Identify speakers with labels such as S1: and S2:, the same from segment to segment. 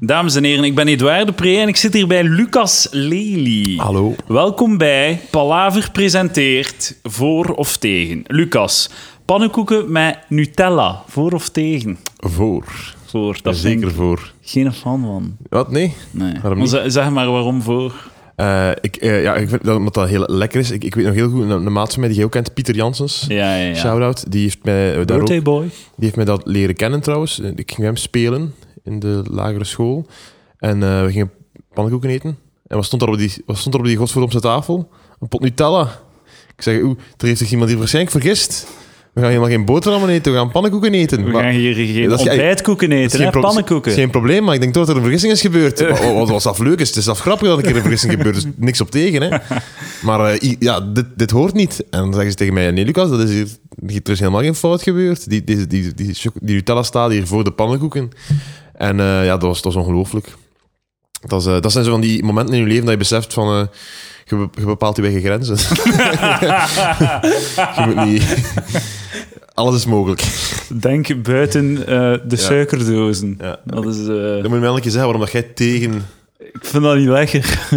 S1: Dames en heren, ik ben Edouard Depree en ik zit hier bij Lucas Lely.
S2: Hallo.
S1: Welkom bij Palaver presenteert voor of tegen. Lucas, pannenkoeken met Nutella, voor of tegen?
S2: Voor.
S1: Voor, dat vind
S2: Zeker
S1: ik
S2: voor.
S1: geen fan van.
S2: Wat? Nee?
S1: Nee.
S2: Waarom
S1: Maar
S2: niet?
S1: ze- zeg maar waarom voor.
S2: Eh, ik, eh, ja, ik vind dat omdat dat heel lekker is. Ik, ik weet nog heel goed, een, een maat van mij die je ook kent, Pieter Jansens.
S1: Ja, ja, ja.
S2: Shout-out. Die heeft, mij, eh, daar ook-
S1: Birthday
S2: die
S1: boy.
S2: heeft mij dat leren kennen trouwens. Eh, Ik ging bij hem spelen in de lagere school. En eh, we gingen pannenkoeken eten. En wat stond er op die, wat stond er op die godsverdomse tafel? Een pot Nutella. Ik zeg, oeh, er heeft zich iemand hier waarschijnlijk vergist. We gaan helemaal geen boterhammen eten, we gaan pannenkoeken eten.
S1: We
S2: Maar-
S1: gaan hier geen
S2: dat is-
S1: ontbijtkoeken
S2: Het
S1: eten,
S2: is
S1: hè?
S2: pro-
S1: pannenkoeken.
S2: het is geen probleem, maar ik denk toch dat er een vergissing is gebeurd. Wat- Wat was dat leuk is, het is af grappig dat een keer een vergissing gebeurt, dus niks op tegen. Hè. Maar eh, i- ja, dit, dit hoort niet. En dan zeggen ze tegen mij, nee Lucas, dat is hier, hier- er is helemaal geen fout gebeurd. Die, die, die, die, choc- die Nutella staat hier voor de pannenkoeken. En eh, ja, dat was, dat was ongelooflijk. Dat, is, eh, dat zijn zo van die momenten in je leven dat je beseft van... eh, je, be- je bepaalt je eigen grenzen. je moet niet... Alles is mogelijk.
S1: Denk buiten eh, de suikerdozen.
S2: Ja.
S1: Dat is... eh,
S2: Dan moet je mij elke keer zeggen waarom dat jij tegen...
S1: Ik vind dat niet lekker.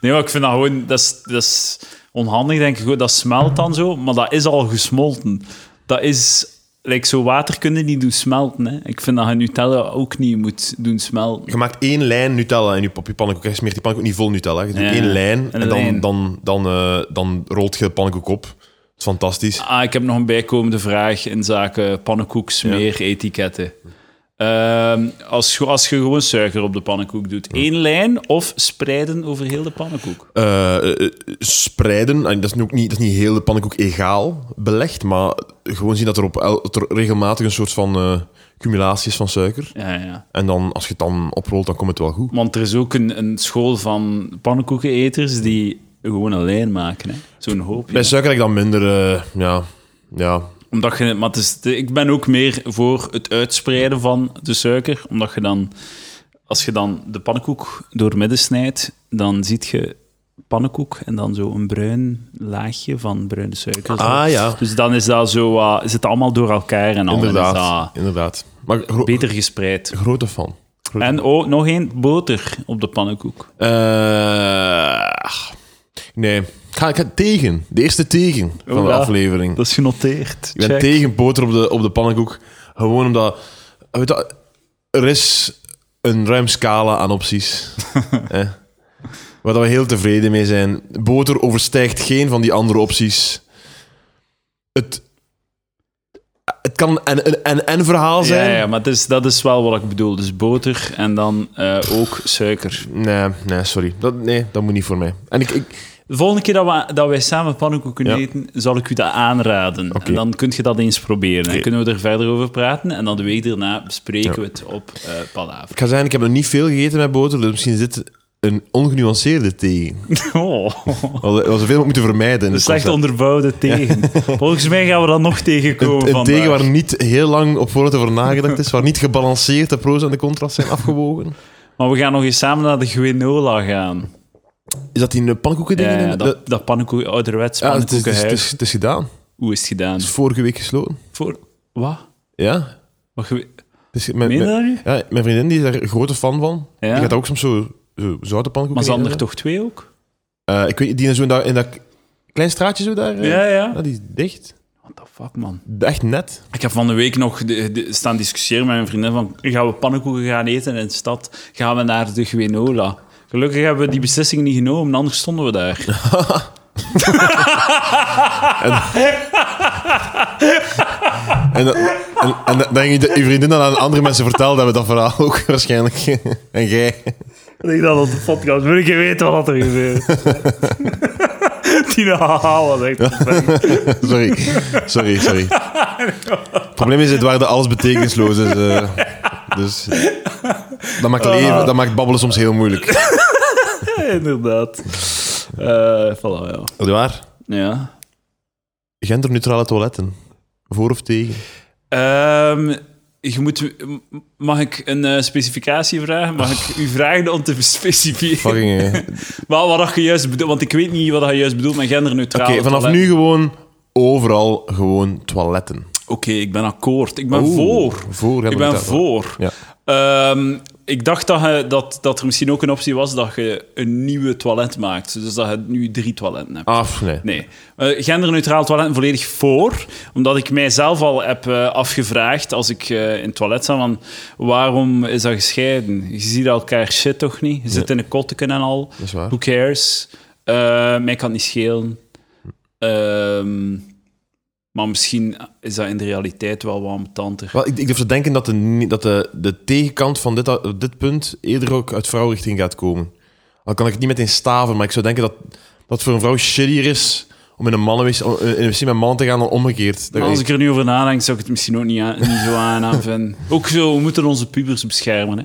S1: nee, maar ik vind dat gewoon... Dat is, dat is onhandig, denk ik. Goed, Dat smelt dan zo, maar dat is al gesmolten. Dat is... Like, zo water kunnen niet doen smelten. Hè. Ik vind dat je Nutella ook niet moet doen smelten.
S2: Je maakt één lijn Nutella in je, op je pannenkoek. Je smeert die pannenkoek niet vol Nutella. Je doet
S1: Ja.
S2: één lijn
S1: En
S2: en dan,
S1: alleen.
S2: dan, dan, eh, dan rolt je de pannenkoek op. Dat is fantastisch.
S1: Ah, ik heb nog een bijkomende vraag in zaken pannenkoek, smeer, etiketten. Ehm, als, je- als je gewoon suiker op de pannenkoek doet. één lijn of spreiden over heel de pannenkoek?
S2: Eh, eh, eh, spreiden, en dat is, nu ook niet, dat is niet heel de pannenkoek egaal belegd, maar gewoon zien dat er, op, el- dat er regelmatig een soort van eh, cumulatie is van suiker.
S1: Ja, ja.
S2: En dan, als je het dan oprolt, dan komt het wel goed.
S1: Want er is ook een, een school van pannenkoekeneters die gewoon een lijn maken. hè. Zo'n hoop.
S2: Bij suiker heb ik dan minder... eh, ja,
S1: Oh,
S2: ja,
S1: Omdat je, maar het is, de- ik ben ook meer voor het uitspreiden van de suiker. Omdat je dan, als je dan de pannenkoek doormidden snijdt, dan ziet je pannenkoek en dan zo een bruin laagje van bruine suiker.
S2: Ah, ja.
S1: Dus dan is dat zo, wat- is het allemaal door elkaar en dan is
S2: inderdaad.
S1: dat
S2: inderdaad. Maar gro-
S1: beter gespreid.
S2: grote fan. Grote
S1: En ook nog één boter op de pannenkoek.
S2: Eh, ach, nee, ik ga, ik ga tegen. De eerste tegen van de
S1: Hoera.
S2: aflevering.
S1: Dat is genoteerd.
S2: Ik ben
S1: Check.
S2: tegen boter op de, op de pannenkoek. Gewoon omdat... Weet je, er is een ruim scala aan opties. eh, waar dat we heel tevreden mee zijn. Boter overstijgt geen van die andere opties. Het, het kan een, een, een, een verhaal zijn.
S1: Ja, ja maar het is, dat is wel wat ik bedoel. Dus boter en dan eh, ook suiker.
S2: Nee, nee, sorry. Dat, nee, dat moet niet voor mij. En ik, ik,
S1: De volgende keer dat, we, dat wij samen pannenkoeken
S2: Ja.
S1: eten, zal ik u dat aanraden. En dan kun je dat eens proberen. Dan kunnen we er verder over praten. En dan de week daarna bespreken we het op eh Palaver.
S2: Ik ga zeggen, ik heb nog niet veel gegeten met boter, dus misschien zit een ongenuanceerde tegen.
S1: Oh,
S2: We hadden we hadden zoveel moeten vermijden. in
S1: een
S2: dit
S1: slecht
S2: concept.
S1: onderbouwde tegen. Volgens mij gaan we dat nog tegenkomen
S2: een, een
S1: vandaag.
S2: tegen waar niet heel lang op voorhand over nagedacht is, waar niet gebalanceerd de pro's en de contra's zijn afgewogen.
S1: Maar we gaan nog eens samen naar de Gwenola gaan.
S2: Is dat die eh, pannenkoeken
S1: Ja,
S2: dingen?
S1: ja, dat, dat pannenkoek, ouderwets
S2: ja, het, is, het, is, het
S1: pannenkoekenhuis.
S2: is- het is gedaan. Het
S1: Hoe is het gedaan?
S2: is vorige week gesloten.
S1: Voor... Wat?
S2: Ja.
S1: Wat gewe-
S2: Het is- mijn,
S1: Meen je
S2: mijn-
S1: dat nu?
S2: ja, mijn vriendin die is daar een grote fan van.
S1: Ja.
S2: Die gaat ook soms zo, zo zoute pannenkoeken
S1: Maar zijn er
S2: eten.
S1: toch twee ook?
S2: Eh, ik weet niet, die is zo in dat, in dat klein straatje zo daar. eh,
S1: Ja, ja.
S2: ja, die is dicht.
S1: What the fuck, man.
S2: Echt net.
S1: Ik heb van de week nog de- de- staan discussiëren met mijn vriendin van gaan we pannenkoeken gaan eten in de stad? Gaan we naar de Gwenola? Gelukkig hebben we die beslissing niet genomen, anders stonden we daar.
S2: En, dan- en, en dan denk je dat je vriendin dan aan andere mensen vertelt dat we dat verhaal ook waarschijnlijk. En jij.
S3: Ik dat op de podcast. Wil ik je weten wat er gebeurt? Tina, haha, wat echt.
S2: Sorry, sorry, sorry. Het probleem is, het waren alles betekenisloos is. eh, dus dat maakt, leven, dat maakt babbelen soms heel moeilijk.
S1: Inderdaad. Eh voilà, ja.
S2: Dat waar?
S1: ja.
S2: Genderneutrale toiletten. Voor of tegen?
S1: Ehm, je moet, mag ik een eh, specificatie vragen? Mag ik u vragen om te specifieren?
S2: Fucking. eh.
S1: Maar wat je juist bedoelt, want ik weet niet wat je juist bedoelt met genderneutraal.
S2: Oké, vanaf nu gewoon overal gewoon toiletten.
S1: Oké, ik ben akkoord. Ik ben
S2: Oeh,
S1: voor.
S2: voor
S1: Ik ben
S2: genderneutraal.
S1: voor.
S2: Ja.
S1: Ehm, ik dacht dat, je, dat, dat er misschien ook een optie was dat je een nieuwe toilet maakt. Dus dat je nu drie toiletten hebt.
S2: Af, Ah, nee.
S1: Nee. Eh, genderneutraal toilet volledig voor. Omdat ik mijzelf al heb eh, afgevraagd als ik eh, in het toilet sta, van waarom is dat gescheiden? Je ziet elkaar shit toch niet? Je zit in een kotteken en al.
S2: Dat is waar.
S1: Who cares? Eh, mij kan het niet schelen. Ehm, maar misschien is dat in de realiteit wel wat ambetanter.
S2: Wel, ik, ik durf te denken dat, de, ni- dat de, de tegenkant van dit, dit punt eerder ook uit vrouwenrichting gaat komen. Al kan ik het niet meteen staven, maar ik zou denken dat dat voor een vrouw shittier is om in een mannenwc om- eh, in een wc met een man te gaan dan omgekeerd. Dat-
S1: Maar als ik er nu over nadenk, zou ik het misschien ook niet, aan- niet zo aan vinden. Ook zo, we moeten onze pubers beschermen. Hè?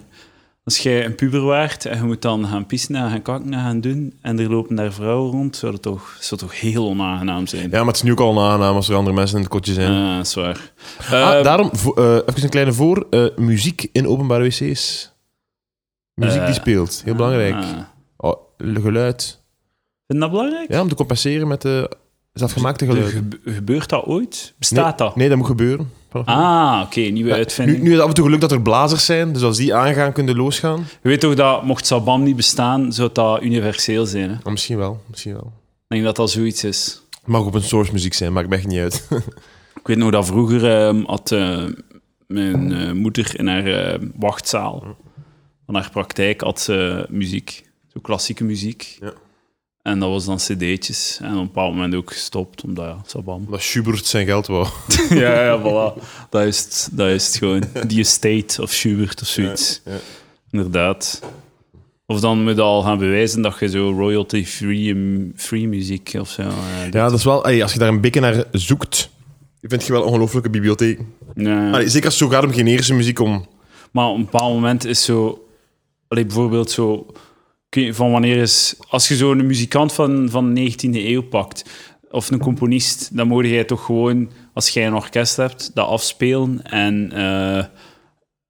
S1: Als jij een puber waart en je moet dan gaan pissen en gaan kakken en gaan doen, en er lopen daar vrouwen rond, zou dat toch, zou toch heel onaangenaam zijn.
S2: Ja, maar het is nu ook al onaangenaam als er andere mensen in het kotje zijn.
S1: Ah, dat is waar.
S2: Ah,
S1: Eh,
S2: daarom, vo- eh, even een kleine voor. eh, muziek in openbare wc's. Muziek
S1: Eh,
S2: die speelt, heel belangrijk.
S1: ah. Vind
S2: Oh, geluid.
S1: je dat belangrijk? Eh,
S2: Ja, om te compenseren met de zelfgemaakte geluid.
S1: Gebe- Gebeurt dat ooit? Bestaat dat?
S2: Nee, dat moet gebeuren.
S1: Ah, oké, nieuwe
S2: Ja,
S1: uitvinding.
S2: Nu, nu is het af en toe geluk dat er blazers zijn, dus als die aangaan, kunnen de losgaan.
S1: Je weet toch dat, mocht Sabam niet bestaan, zou dat universeel zijn. Hè? Ik
S2: Ah, misschien wel, misschien wel.
S1: denk dat dat zoiets is.
S2: Het mag open source muziek zijn, maakt me echt niet uit.
S1: Ik weet nog dat vroeger ehm, had eh, mijn eh, moeder in haar eh, wachtzaal van haar praktijk had ze muziek, zo klassieke muziek.
S2: Ja.
S1: En dat was dan cd'tjes. En op een bepaald moment ook gestopt, omdat ja, sabam.
S2: Omdat Schubert zijn geld wou.
S1: ja, ja, voilà. Dat is het, dat is het gewoon. Die Estate of Schubert of zoiets.
S2: Ja, ja.
S1: Inderdaad. Of dan moet je al gaan bewijzen dat je zo royalty-free mm, free muziek of zo... eh,
S2: Ja, dat is wel... ey, als je daar een beetje naar zoekt, vind je wel ongelooflijke bibliotheek.
S1: nee.
S2: Allee, zeker als het zo gaat om generische muziek, om... eh,
S1: Maar op een bepaald moment is zo... Allee, bijvoorbeeld zo... ik weet niet Van wanneer is... Als je zo'n muzikant van, van de 19e eeuw pakt, of een componist, dan moet jij toch gewoon, als jij een orkest hebt, dat afspelen. En eh,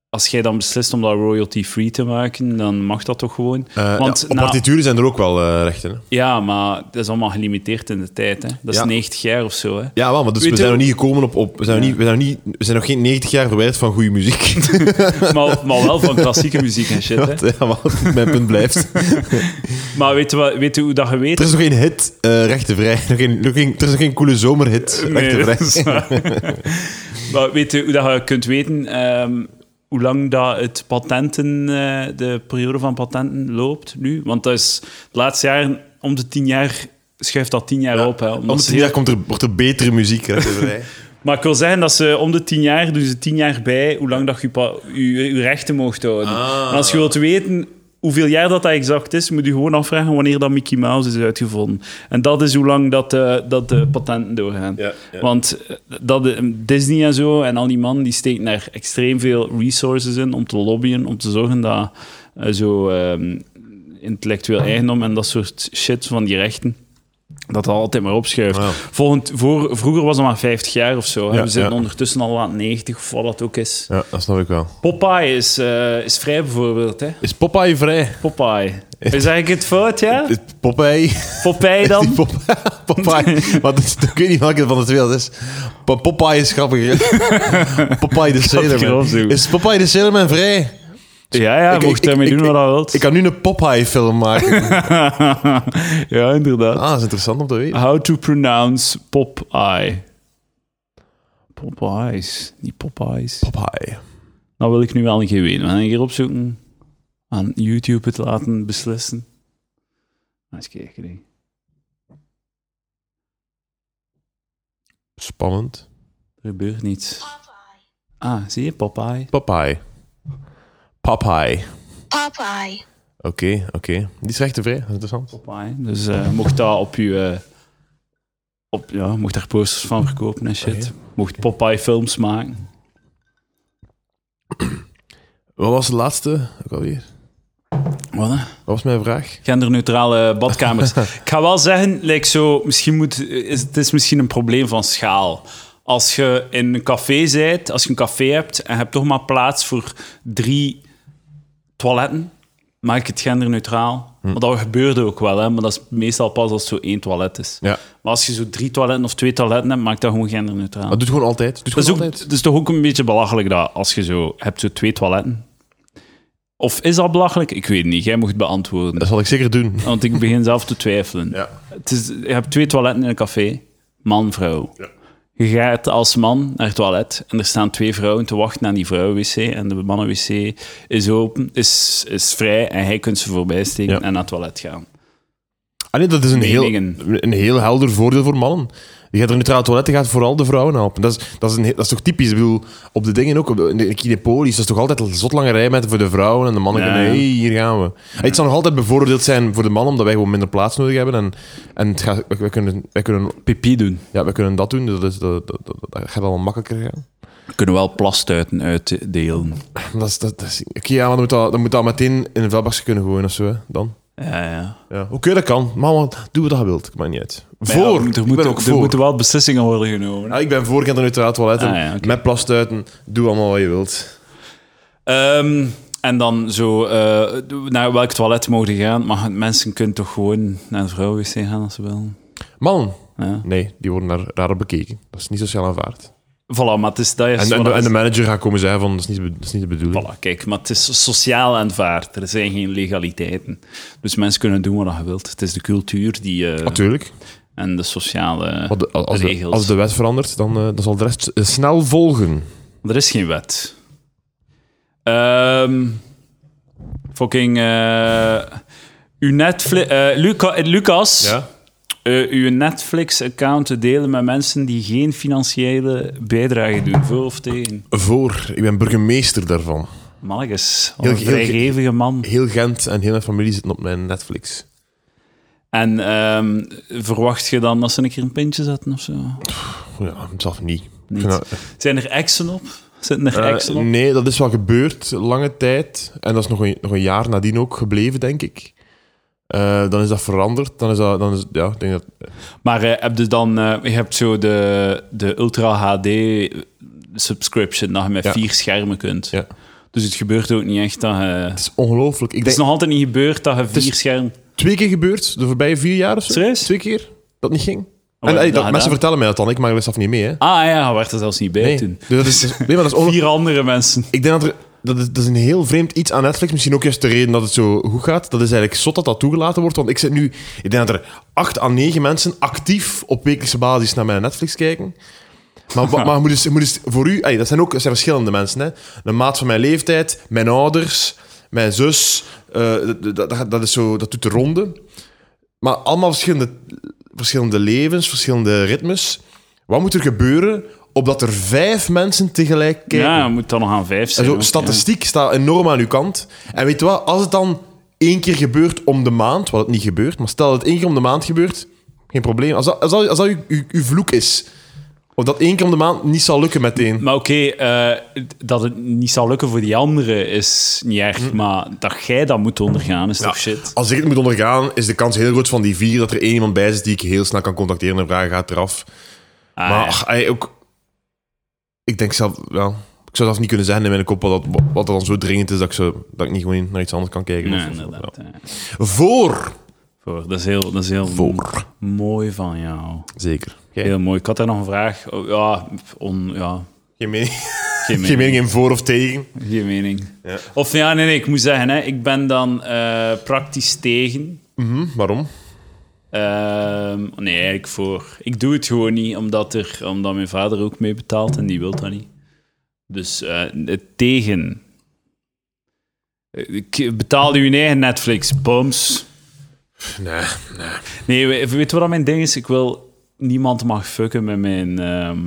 S1: als jij dan beslist om dat royalty-free te maken, dan mag dat toch gewoon.
S2: eh,
S1: Want
S2: ja, op
S1: na-
S2: partituren zijn er ook wel eh, rechten. Hè?
S1: Ja, maar dat is allemaal gelimiteerd in de tijd. Hè? Dat is
S2: Ja.
S1: 90 jaar of zo. Hè?
S2: Ja, wel, maar dus
S1: Weet
S2: we
S1: je-
S2: zijn nog niet gekomen op... op we, zijn nog niet, we, zijn nog niet, we zijn nog geen 90 jaar verwijderd van goede muziek.
S1: Maar, maar wel van klassieke muziek en shit. Hè?
S2: Wat, ja, wat eh, mijn punt blijft.
S1: Maar weet je, wat- weet je hoe dat je weet?
S2: Er is nog geen hit eh rechtenvrij. Nog geen, nog geen, er is nog geen coole zomerhit
S1: Nee,
S2: rechtenvrij.
S1: dat is waar. maar weet je hoe dat je kunt weten ehm, hoe lang dat het patenten, eh, de periode van patenten loopt nu? Want dat is de laatste jaren, om de tien jaar, schuift dat tien jaar op. Hè, omdat
S2: Om
S1: ze
S2: tien
S1: heel-
S2: jaar komt er, wordt er betere muziek rechtenvrij.
S1: Maar ik wil zeggen dat ze om de tien jaar, doen ze tien jaar bij, hoe lang dat je pa- je, je rechten mocht houden.
S2: Ah.
S1: En als je wilt weten hoeveel jaar dat, dat exact is, moet je gewoon afvragen wanneer dat Mickey Mouse is uitgevonden. En dat is hoe lang dat, eh, dat de patenten doorgaan.
S2: Ja, ja.
S1: Want eh, dat, eh, Disney en zo en al die mannen, die steken daar extreem veel resources in om te lobbyen, om te zorgen dat eh, zo ehm, intellectueel eigendom en dat soort shit van die rechten, dat dat altijd maar opschuift.
S2: Ja.
S1: Volgend, voor, vroeger was dat maar 50 jaar of zo. hè.
S2: Ja,
S1: We zitten
S2: ja.
S1: ondertussen al aan 90 of wat dat ook is.
S2: ja, dat snap ik wel.
S1: Popeye is, eh, is vrij bijvoorbeeld. Hè?
S2: Is Popeye vrij?
S1: Popeye. Is eigenlijk het fout, ja?
S2: Is Popeye?
S1: Popeye
S2: Die
S1: dan?
S2: Pop Popeye. Maar dat is- ik weet niet welke van de twee dat is. Pa- Popeye is grappiger. Popeye de
S1: erop
S2: Sailorman.
S1: zoeken.
S2: Is Popeye de Sailorman vrij?
S1: Ja, ja,
S2: Ik-
S1: mocht
S2: ik-
S1: daarmee
S2: ik-
S1: doen wat hij wilt.
S2: Ik kan nu een Popeye-film maken.
S1: ja, inderdaad.
S2: Ah, dat is interessant om te weten.
S1: How to pronounce Popeye. Popeyes, niet Popeyes.
S2: Popeye.
S1: Dat Nou wil ik nu wel een keer weten. We gaan een keer opzoeken. Aan YouTube het laten beslissen. Ah, Eens kijken. hè.
S2: Spannend.
S1: Er gebeurt niets. Ah, zie je, Popeye.
S2: Popeye. Popeye.
S4: Popeye.
S2: Oké, oké. Die is rechtenvrij. Dat is interessant.
S1: Popeye. Dus eh, mocht dat op je... eh, op, ja, mocht daar posters van verkopen en shit. Mocht Popeye films maken.
S2: Wat was de laatste? Ook alweer.
S1: Wat, hè?
S2: Wat was mijn vraag?
S1: genderneutrale badkamers. ik ga wel zeggen, like zo, misschien moet, is, het is misschien een probleem van schaal. Als je in een café zit, als je een café hebt en je hebt toch maar plaats voor drie toiletten, maak ik het genderneutraal. Want dat gebeurde ook wel, hè? maar dat is meestal pas als het zo één toilet is.
S2: Ja.
S1: Maar als je zo drie toiletten of twee toiletten hebt, maak dat gewoon genderneutraal.
S2: Dat doet gewoon altijd. Doet
S1: Dat
S2: gewoon
S1: is, ook,
S2: altijd.
S1: dat is toch ook een beetje belachelijk dat als je zo hebt zo twee toiletten. Of is dat belachelijk? Ik weet niet. Jij moet het beantwoorden.
S2: Dat zal ik zeker doen.
S1: Want ik begin zelf te twijfelen.
S2: Ja.
S1: Het is, je hebt twee toiletten in een café. Man, vrouw.
S2: Ja.
S1: Je gaat als man naar het toilet en er staan twee vrouwen te wachten aan die vrouwenwc. En de mannenwc is open, is, is vrij en hij kunt ze voorbij steken
S2: Ja.
S1: en naar het toilet gaan.
S2: Allee, dat is een heel,
S1: Meningen.
S2: een heel helder voordeel voor mannen. Je gaat er neutraal toilet, je gaat vooral de vrouwen helpen. Dat is, dat is, een, heel- dat is toch typisch? Ik bedoel, op de dingen ook, op de, in de kinepolis, dat is toch altijd een zot lange rij met voor de vrouwen en de mannen.
S1: Ja.
S2: kunnen, hey, hier gaan we. Het zal nog altijd bevoordeeld zijn voor de mannen, omdat wij gewoon minder plaats nodig hebben. En, en het gaat, wij, wij kunnen, wij, kunnen,
S1: Pipi doen.
S2: ja, wij kunnen dat doen, dus dat, is, dat, dat, dat, dat gaat allemaal makkelijker gaan.
S1: We kunnen wel plastuiten uitdelen.
S2: Dat is, dat, dat is- Oké, ja, maar dan moet dat, dan moet dat meteen in een vuilbakje kunnen gooien of zo, hè, dan.
S1: Ja, ja.
S2: Ja. Oké, dat kan. Maar man, doe wat je wilt, ik maak niet uit.
S1: Maar ja,
S2: Voor!
S1: er,
S2: ik
S1: moeten-
S2: ben ook
S1: er
S2: voor.
S1: moeten wel beslissingen worden genomen.
S2: Ja, ik ben voor Gent neutraal toiletten.
S1: Ah, ja, oké.
S2: Met plastuiten. Doe allemaal wat je wilt.
S1: Ehm, en dan zo, eh, naar welk toilet mogen gaan? Maar mensen kunnen toch gewoon naar een vrouwenwc gaan als ze willen?
S2: Man.
S1: Ja.
S2: Nee, die worden daar raar op bekeken. Dat is niet sociaal aanvaard.
S1: Voilà, maar het is, dat is
S2: En,
S1: wat
S2: en, de,
S1: het
S2: en
S1: is.
S2: de manager gaat komen zeggen van, dat is niet, de- dat is niet de bedoeling.
S1: Voilà, kijk, maar het is sociaal aanvaard. Er zijn geen legaliteiten. Dus mensen kunnen doen wat je wilt. Het is de cultuur die, eh,
S2: Natuurlijk.
S1: en de sociale
S2: Want de- als, de,
S1: regels.
S2: als de wet verandert, dan, eh, dan zal de rest eh, snel volgen.
S1: Er is geen wet. Ehm, fucking... eh, uw Netflix... eh, Luca- eh, Lucas, eh, uw Netflix-account delen met mensen die geen financiële bijdrage doen. Voor of tegen?
S2: Voor. Ik ben burgemeester daarvan.
S1: Malgus,
S2: Heel-
S1: een
S2: heel-
S1: vrijgevige man.
S2: Heel Gent en heel mijn familie zitten op mijn Netflix.
S1: En ehm, verwacht je dan dat ze een keer een pintje zetten of zo?
S2: Ja, zelf niet. Ik
S1: Niet.
S2: vind dat-
S1: Zijn er exen op? Zitten er
S2: Eh,
S1: exen op?
S2: nee, dat is wel gebeurd lange tijd. En dat is nog een, nog een jaar nadien ook gebleven, denk ik. Eh, dan is dat veranderd. Dan is dat, dan is, ja, ik denk dat,
S1: Maar eh, heb je dan, eh, je hebt zo de, de Ultra HD subscription, dat je met
S2: Ja.
S1: vier schermen kunt.
S2: ja.
S1: Dus het gebeurt ook niet echt dat je...
S2: Het is ongelooflijk. Ik
S1: Het is
S2: denk
S1: nog altijd niet gebeurd dat je
S2: is-
S1: vier schermen...
S2: twee keer gebeurd, de voorbije vier jaar of zo.
S1: Serieus?
S2: Twee keer, dat niet ging.
S1: Oh,
S2: en,
S1: ja,
S2: eh, dat,
S1: nou,
S2: mensen
S1: daar-
S2: vertellen mij dat dan, ik maak er zelf niet mee. Hè.
S1: Ah ja, je werd er zelfs niet bij
S2: Nee.
S1: toen.
S2: Dus dat is, nee, maar dat is ongelooflijk.
S1: Vier andere mensen.
S2: Ik denk dat er... Dat is, dat is een heel vreemd iets aan Netflix. Misschien ook juist de reden dat het zo goed gaat. Dat is eigenlijk zot dat dat toegelaten wordt. Want ik zit nu... Ik denk dat er acht à negen mensen actief op wekelijkse basis naar mijn Netflix kijken. Maar, wa- maar je moet dus, je moet dus voor u... ey, dat zijn ook dat zijn verschillende mensen. Hè. Een maat van mijn leeftijd, mijn ouders, mijn zus. eh, dat, dat, dat- dat is zo, dat doet de ronde. Maar allemaal verschillende, verschillende levens, verschillende ritmes. Wat moet er gebeuren opdat er vijf mensen tegelijk kijken?
S1: Ja, je moet dan nog aan vijf
S2: En
S1: zijn.
S2: zo,
S1: ook,
S2: statistiek staat enorm aan uw kant. En weet je wat, als het dan één keer gebeurt om de maand, wat het niet gebeurt, maar stel dat het één keer om de maand gebeurt, geen probleem. Als dat, als dat, als dat uw, uw, uw vloek is, of dat één keer om de maand niet zal lukken
S1: ja.
S2: meteen.
S1: Maar oké, eh, dat het niet zal lukken voor die anderen is niet erg,
S2: Mm.
S1: maar dat jij dat moet ondergaan is toch shit?
S2: Als ik het moet ondergaan, is de kans heel groot van die vier dat er één iemand bij zit die ik heel snel kan contacteren en vragen gaat eraf.
S1: Ah,
S2: maar
S1: ja.
S2: ach, ey, ook... Ik denk zelf... Ja, ik zou zelf niet kunnen zeggen in mijn kop wat dat, wat dat dan zo dringend is dat ik, zo, dat ik niet gewoon naar iets anders kan kijken.
S1: Nee,
S2: Of- of-
S1: inderdaad. ja.
S2: ja. Voor...
S1: Voor. Dat is heel, dat is heel
S2: Voor.
S1: mooi van jou.
S2: Zeker.
S1: Heel mooi. Ik had daar nog een vraag. Oh, ja, on, ja,
S2: Geen mening.
S1: geen mening.
S2: Geen mening in voor of tegen.
S1: Geen mening.
S2: Ja.
S1: Of ja, nee, nee, ik moet zeggen, hè, ik ben dan eh, praktisch tegen.
S2: Hm, Waarom?
S1: Ehm, nee, eigenlijk voor. Ik doe het gewoon niet, omdat, er, omdat mijn vader ook mee betaalt en die wil dat niet. Dus eh, het tegen. Eh, ik- Betaal je eigen Netflix, bums.
S2: Nee.
S1: Nee, we- weet je wat mijn ding is? Ik wil... Niemand mag fucken met mijn... ehm,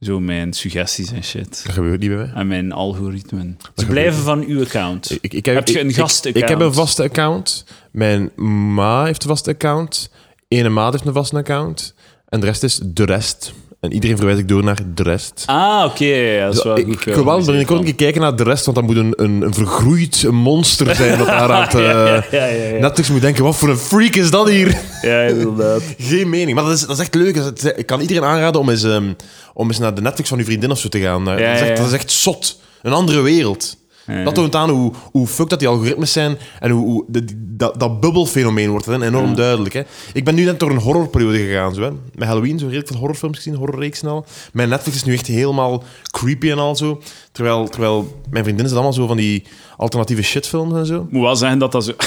S1: zo mijn suggesties en shit.
S2: Dat gebeurt niet bij mij.
S1: En mijn algoritmen. Ze blijven van uw account.
S2: Ik, ik heb,
S1: Heb je een
S2: ik-
S1: gastaccount?
S2: Ik, ik heb een vaste account. Mijn ma heeft een vaste account. Ene maat heeft een vaste account. En de rest is de rest. En iedereen verwijs ik door naar de rest.
S1: Ah, oké. ja, dat is wel
S2: ik
S1: goed. eh,
S2: ik wil wel binnenkort een keer kijken naar de rest, want dat moet een, een, een vergroeid monster zijn dat daar aan het... eh,
S1: Ja, ja, ja.
S2: Netflix moet denken, wat voor een freak is dat hier?
S1: ja, inderdaad.
S2: Geen mening. Maar dat is, dat is echt leuk. Dat is- Ik kan iedereen aanraden om eens, ehm, om eens naar de Netflix van uw vriendin of zo te gaan. Eh,
S1: Ja,
S2: dat, is echt,
S1: ja, ja.
S2: dat is echt zot. Een andere wereld. Dat toont aan hoe, hoe fuck dat die algoritmes zijn en hoe, hoe de- die- dat, dat bubbelfenomeen wordt dan enorm duidelijk. Hè. Ik ben nu net door een horrorperiode gegaan. Zo, hè. Met Halloween zo redelijk veel horrorfilms gezien, horrorreeks en al. Mijn Netflix is nu echt helemaal creepy en al zo. Terwijl, terwijl mijn vriendinnen zijn allemaal zo van die alternatieve shitfilms en zo.
S1: Ik moet wel zeggen dat dat zo...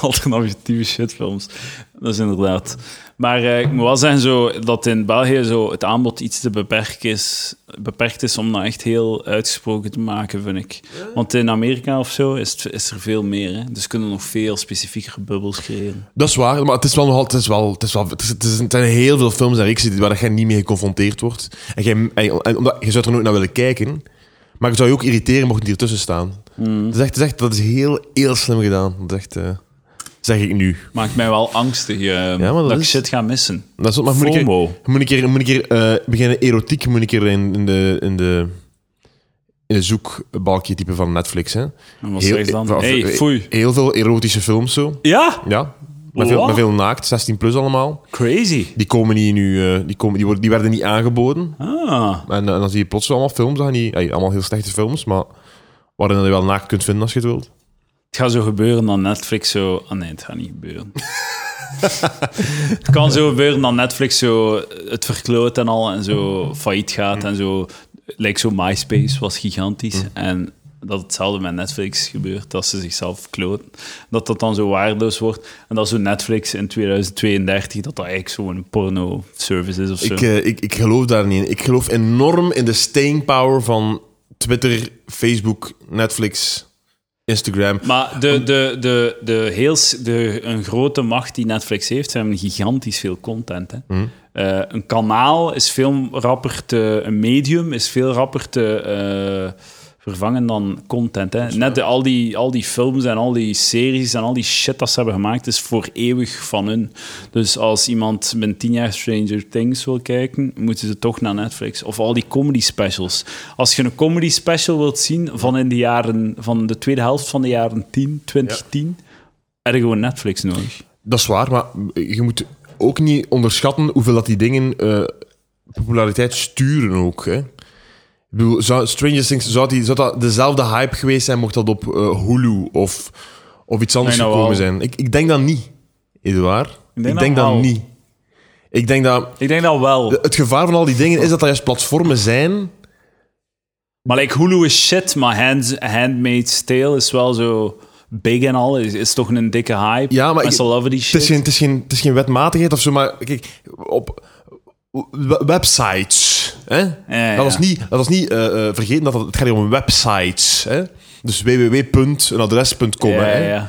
S1: Alternatieve shitfilms. Dat is inderdaad... Maar eh, ik moet wel zeggen zo, dat in België zo het aanbod iets te beperkt is, beperkt is om dat echt heel uitgesproken te maken, vind ik. Want in Amerika of zo is, het- is er veel meer. Hè? Dus kunnen nog veel specifiekere bubbels creëren.
S2: Dat is waar, maar het is wel nog altijd. Het, is wel, het, is wel, het, is, het, is- het zijn heel veel films en reeksen die- waar jij niet mee geconfronteerd wordt. En jij, en- en omdat, je zou er nooit naar willen kijken, maar je zou je ook irriteren mocht die ertussen staan.
S1: Hmm.
S2: Het is echt, het is echt, dat is heel, heel slim gedaan. Dat is echt, eh, zeg ik nu.
S1: Maakt mij wel angstig eh,
S2: maar dat
S1: dat, ik
S2: is-
S1: shit ga missen.
S2: Dat is, ook- maar moet ik een
S1: FOMO.
S2: keer, moet ik een keer, moet ik een keer eh, beginnen erotiek moet ik er in, in de. In de in de zoekbalkje type van Netflix. Hè. eh,
S1: En wat zeg je dan?
S2: of-
S1: hey, foei.
S2: heel veel erotische films zo.
S1: Ja?
S2: Ja. Met veel,
S1: Wow.
S2: met veel naakt, 16 plus allemaal.
S1: Crazy.
S2: Die komen niet nu, eh, die, komen, die, worden, die werden niet aangeboden.
S1: Ah.
S2: En, eh, dan zie je plots allemaal films, ah, aan die, ey, allemaal heel slechte films, maar waarin je wel naakt kunt vinden als je het wilt.
S1: Het gaat zo gebeuren dat Netflix zo... Ah nee, het gaat niet gebeuren. het kan zo gebeuren dat Netflix zo het verkloot en al en zo failliet gaat en zo... Lijkt zo MySpace was gigantisch en dat hetzelfde met Netflix gebeurt, dat ze zichzelf kloten. Dat dat dan zo waardeloos wordt en dat zo Netflix in 2032, dat dat eigenlijk zo'n porno-service is of zo.
S2: Ik, eh, ik, ik geloof daar niet in. Ik geloof enorm in de staying power van Twitter, Facebook, Netflix, Instagram.
S1: Maar de, de, de, de, heel, s- de, een grote macht die Netflix heeft, ze hebben gigantisch veel content. Hè. Eh, een kanaal is veel rapper te... Een medium is veel rapper te eh, vervangen dan content. Hè. Net de- al, die, al die films en al die series en al die shit dat ze hebben gemaakt, is voor eeuwig van hun. Dus als iemand met 10 jaar Stranger Things wil kijken, moeten ze toch naar Netflix. Of al die comedy specials. Als je een comedy special wilt zien van in de jaren... van de tweede helft van de jaren 10, 2010, heb je gewoon Netflix nodig.
S2: Dat is waar, maar je moet ook niet onderschatten hoeveel dat die dingen eh, populariteit sturen ook. Hè. Ik bedoel, zou, Stranger Things, zou, die, zou dat dezelfde hype geweest zijn mocht dat op eh, Hulu of, of iets anders
S1: Nee, nou
S2: gekomen
S1: wel.
S2: zijn? Ik, ik denk dat niet, Eduard. Ik denk,
S1: dat
S2: dat,
S1: wel.
S2: niet. Ik denk dat...
S1: Ik denk dat wel.
S2: Het gevaar van al die dingen is dat dat juist platformen zijn...
S1: Maar like Hulu is shit, maar Hand, Handmaid's Tale is wel zo big en al. Is, is toch een dikke hype.
S2: Ja, maar ik-
S1: Mensen loven die
S2: Het is,
S1: shit.
S2: geen, het, is geen, het is geen wetmatigheid of zo, maar kijk, op we- websites. Hè?
S1: ja,
S2: dat, was
S1: ja.
S2: niet, dat was niet eh, eh, vergeten dat het, het gaat hier om websites. Hè? Dus www.eenadres.com.
S1: ja,
S2: hè?
S1: ja, ja.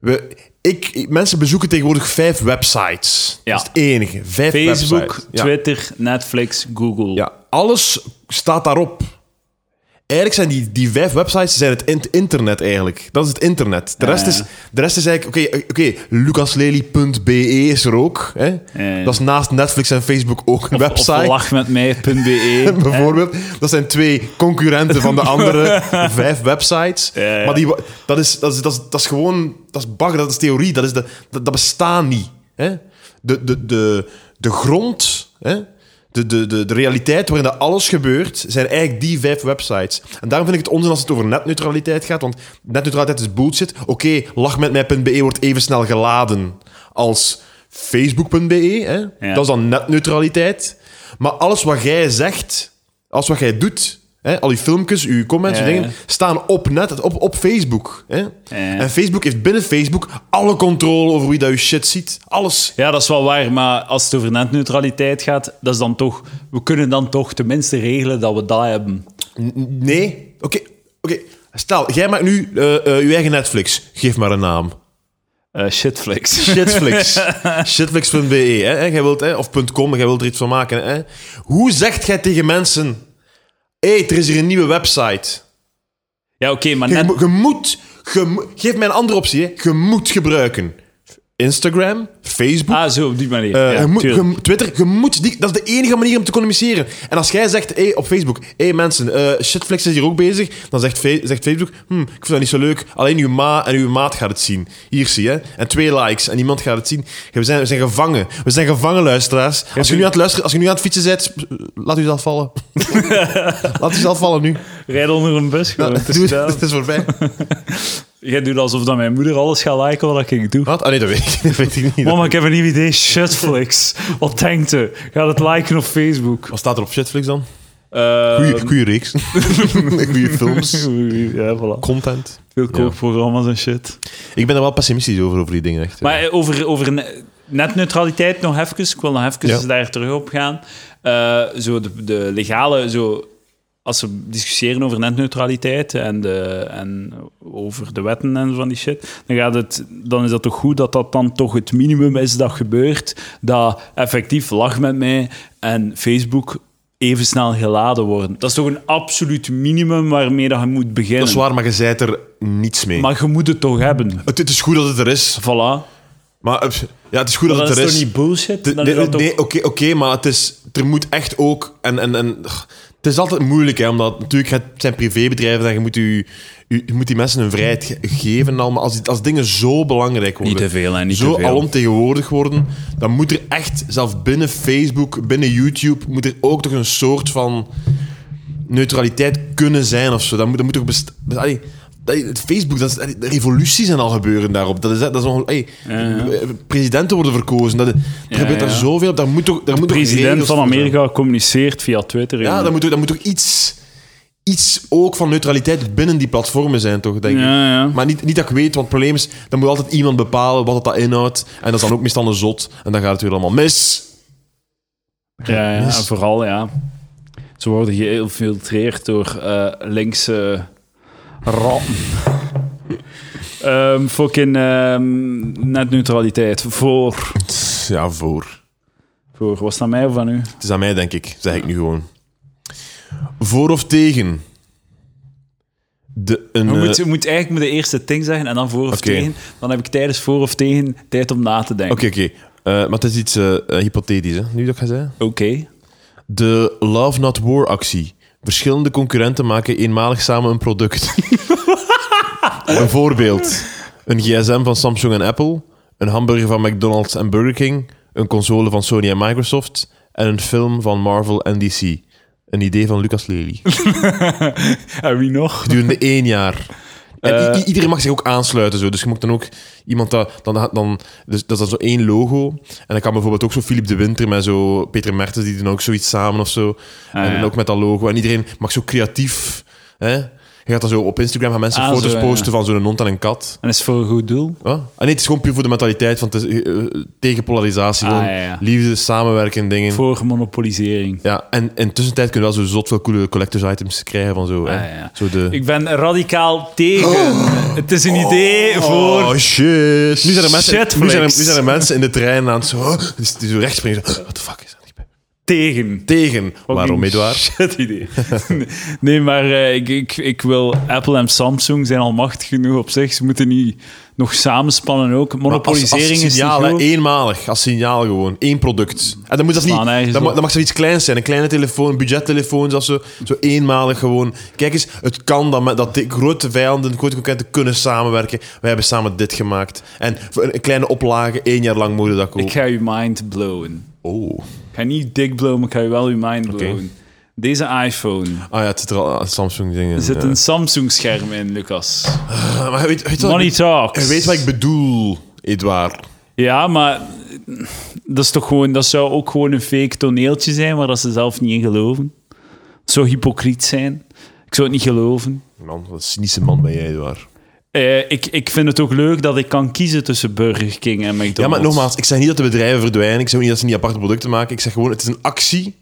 S2: We, ik, ik- mensen bezoeken tegenwoordig vijf websites.
S1: Ja.
S2: Dat is het enige. Vijf
S1: Facebook,
S2: websites. Ja.
S1: Twitter, Netflix, Google.
S2: Ja, alles staat daarop. Eigenlijk zijn die, die vijf websites zijn het in- internet eigenlijk. Dat is het internet. De rest
S1: Ja.
S2: is, de rest is eigenlijk... Oké, eh, oké, lucaslely.be is er ook. Hè?
S1: ja.
S2: Dat is naast Netflix en Facebook ook een
S1: Of- Of,
S2: website.
S1: lachmetmij.be.
S2: bijvoorbeeld. Dat zijn twee concurrenten van de andere vijf websites.
S1: Ja, ja.
S2: Maar die, wa- dat, is, dat, is, dat, is, dat is gewoon... Dat is bagger, dat is theorie. Dat, is de, dat, dat bestaat niet. Hè? De, de, de, de grond, hè? De, de, de, de realiteit waarin dat alles gebeurt, zijn eigenlijk die vijf websites. En daarom vind ik het onzin als het over netneutraliteit gaat, want netneutraliteit is bullshit. Oké, lachmetmij.be E wordt even snel geladen als facebook.be. E, Hè?
S1: Ja.
S2: Dat is dan netneutraliteit. Maar alles wat jij zegt, alles wat jij doet, hè, al die filmpjes, uw comments,
S1: Ja,
S2: uw
S1: ja.
S2: dingen, staan op net, op, op Facebook. Hè?
S1: ja.
S2: En Facebook heeft binnen Facebook alle controle over wie dat je shit ziet. Alles.
S1: Ja, dat is wel waar, maar als het over netneutraliteit gaat, dat is dan toch... We kunnen dan toch tenminste regelen dat we dat hebben.
S2: N- n- Nee. Oké. oké. Stel, jij maakt nu eh, eh, je eigen Netflix. Geef maar een naam.
S1: Eh, shitflix.
S2: Shitflix. Shitflix.be. Hè? En Jij wilt, hè? Of .com, jij wilt er iets van maken. Hè? Hoe zegt jij tegen mensen... Hé, hey, er is hier een nieuwe website.
S1: Ja, oké, maar
S2: Je,
S1: net...
S2: mo- je moet, je mo- geef mij een andere optie, hè. je moet gebruiken. Instagram, Facebook.
S1: Ah, zo, op die manier.
S2: eh,
S1: Ja,
S2: je moet-
S1: tuurlijk.
S2: je- Twitter, je moet die, dat is de enige manier om te communiceren. En als jij zegt hey, op Facebook, hey mensen, eh, shitflex is hier ook bezig, dan zegt, Fe- zegt Facebook, hm, ik vind dat niet zo leuk, alleen uw ma en uw maat gaat het zien. Hier zie je, en twee likes, en iemand gaat het zien. We zijn, we zijn gevangen. We zijn gevangen, luisteraars. Als je nu aan het, luisteren, als je nu aan het fietsen bent, sp- laat u zelf vallen. laat u zelf vallen nu.
S3: Rijd onder een bus gewoon. het is
S2: Doe-
S3: gedaan.
S2: het is voorbij.
S1: Jij doet alsof dat mijn moeder alles gaat liken wat ik doe.
S2: Wat? Ah nee, dat weet ik, dat weet ik niet.
S1: Mama, ik heb een nieuw idee. Shitflix. Wat denkt u? Gaat het liken op Facebook?
S2: Wat staat er op shitflix dan? Ehm,
S1: Eh,
S2: Goeie, goeie reeks. goeie films.
S3: Ja, voilà.
S2: Content.
S1: Veel kookprogramma's en shit.
S2: Ik ben er wel pessimistisch over, over die dingen. Echt.
S1: Maar eh, over, over ne- netneutraliteit nog even. Ik wil nog even
S2: Ja.
S1: eens daar terug op gaan. Eh, zo de, de legale... Zo, als we discussiëren over netneutraliteit en, de, en over de wetten en zo van die shit, dan, gaat het, dan is dat toch goed dat dat dan toch het minimum is dat gebeurt. Dat effectief lach met mij en Facebook even snel geladen worden. Dat is toch een absoluut minimum waarmee dat je moet beginnen.
S2: dat is waar, maar je zei er niets mee.
S1: Maar je moet het toch hebben.
S2: het, het is goed dat het er is.
S1: Voilà.
S2: Maar eh, ja, het is goed dat,
S1: Dat
S2: het
S1: is
S2: er is.
S1: toch niet bullshit?
S2: De-
S1: Dan
S2: nee,
S1: is dat
S2: nee,
S1: toch-
S2: oké, oké, maar het is, er moet echt ook... En, en, en, ugh, het is altijd moeilijk, hè, omdat natuurlijk het zijn privébedrijven en je moet, u, u- je moet die mensen hun vrijheid ge- geven. en al, maar als, die- als dingen zo belangrijk worden...
S1: Niet te veel, hè, niet
S2: zo
S1: te veel.
S2: alomtegenwoordig worden, dan moet er echt, zelfs binnen Facebook, binnen YouTube, moet er ook toch een soort van neutraliteit kunnen zijn of zo. Dat moet, dat moet toch best... dat- allee, dat- het Facebook, dat is, allee, de revoluties zijn al gebeuren daarop. Dat is, dat is onge- allee, eh, Presidenten worden verkozen. Dat, er
S1: Ja,
S2: gebeurt daar
S1: ja.
S2: zoveel. op. Daar moet toch, daar moet toch
S1: president
S2: regels
S1: van
S2: voor zijn.
S1: Amerika communiceert via Twitter.
S2: Ja,
S1: jongen.
S2: daar moet, toch- daar moet toch iets, iets ook van neutraliteit binnen die platformen zijn, toch? Denk ik.
S1: ja, ja.
S2: Maar niet, niet dat ik weet, want het probleem is, dan moet altijd iemand bepalen wat het dat inhoudt. En dat is dan ook meestal een zot. En dan gaat het weer allemaal mis.
S1: ja, ja. En vooral, ja. Ze worden geïnfiltreerd door eh, linkse ratten. Ehm fucking ehm, netneutraliteit. Voor,
S2: Ja, voor.
S1: voor. Wat is dat mij of van u?
S2: Het is aan mij, denk ik, zeg ik nu gewoon. Voor of tegen? De, een,
S1: Je moet,
S2: eh,
S1: je moet eigenlijk moet de eerste ting zeggen en dan voor of
S2: Oké.
S1: tegen. Dan heb ik tijdens voor of tegen tijd om na te denken.
S2: Oké, oké. Eh, maar het is iets eh, eh, hypothetisch, hè? nu dat ik ga zeggen.
S1: Oké.
S2: De Love Not War actie. Verschillende concurrenten maken eenmalig samen een product. een voorbeeld. Een gsm van Samsung en Apple. Een hamburger van McDonald's en Burger King. Een console van Sony en Microsoft. En een film van Marvel en DC. Een idee van Lucas Lely.
S1: En wie nog?
S2: Gedurende één jaar. En
S1: Eh.
S2: i- i- iedereen mag zich ook aansluiten. Zo. Dus je moet dan ook iemand dat. Dan, dan, dus, dat is dan zo één logo. En dan kan bijvoorbeeld ook zo Philip de Winter met zo Peter Mertens, die doen ook zoiets samen of zo. en
S1: Ah, ja.
S2: dan ook met dat logo. En iedereen mag zo creatief. Hè? Je gaat dan zo op Instagram gaan mensen
S1: Ah,
S2: foto's
S1: zo, ja.
S2: posten van zo'n hond en een kat.
S1: En is het voor een goed doel?
S2: Huh? Ah, nee, het is gewoon puur voor de mentaliteit. Want het is, eh, eh, tegen polarisatie.
S1: Ah,
S2: gewoon
S1: ja, ja.
S2: Liefde, samenwerken, dingen.
S1: Voor monopolisering.
S2: Ja, en in tussentijd kunnen we wel zo zot veel coole collectors items krijgen van zo. hè?
S1: Ah, ja.
S2: zo de...
S1: Ik ben radicaal tegen. Het is een idee voor.
S2: Oh shit. Nu zijn er mensen,
S1: Shitflix.
S2: nu zijn er, nu zijn er mensen in de trein aan het zo, oh, die, die zo rechts springen. Zo, what the fuck is dat? Ik ben
S1: Tegen.
S2: Tegen. Waarom, Edouard?
S1: Shit idee. nee, maar eh, ik, ik, ik wil. Apple en Samsung zijn al machtig genoeg op zich. Ze moeten niet nog samenspannen ook. Monopolisering
S2: als, eh, als signaal,
S1: is.
S2: hè,
S1: niet goed.
S2: eenmalig. Als signaal gewoon. Één product. En dan moet dat
S1: Slaan
S2: niet...
S1: ergens
S2: Dan, ma-
S1: op.
S2: dan mag zoiets kleins zijn. Een kleine telefoon, een budgettelefoon, zoals zo. Zo eenmalig gewoon. Kijk eens, het kan dat, met- dat de grote vijanden, de grote concurrenten kunnen samenwerken. Wij hebben samen dit gemaakt. En voor een, een kleine oplage, één jaar lang mogen we dat kopen.
S1: Ik ga je mind blowen.
S2: Oh.
S1: Ik ga niet dik blowen, maar ik ga je wel je mind blowen. Deze iPhone.
S2: Ah ja, het zit er al aan Samsung-dingen.
S1: Er zit
S2: ja.
S1: een Samsung-scherm in, Lucas.
S2: Ah, maar weet, weet je wat ik
S1: Money
S2: bedoel?
S1: talks.
S2: Je weet wat ik bedoel, Edouard.
S1: Ja, maar dat, is toch gewoon, dat zou ook gewoon een fake toneeltje zijn waar dat ze zelf niet in geloven. Zo hypocriet zijn. Ik zou het niet geloven.
S2: Man, wat een cynische man ben jij, Edouard.
S1: Eh, ik, ik vind het ook leuk dat ik kan kiezen tussen Burger King en McDonald's.
S2: Ja, maar nogmaals, ik zeg niet dat de bedrijven verdwijnen. Ik zeg ook niet dat ze niet aparte producten maken. Ik zeg gewoon, het is een actie.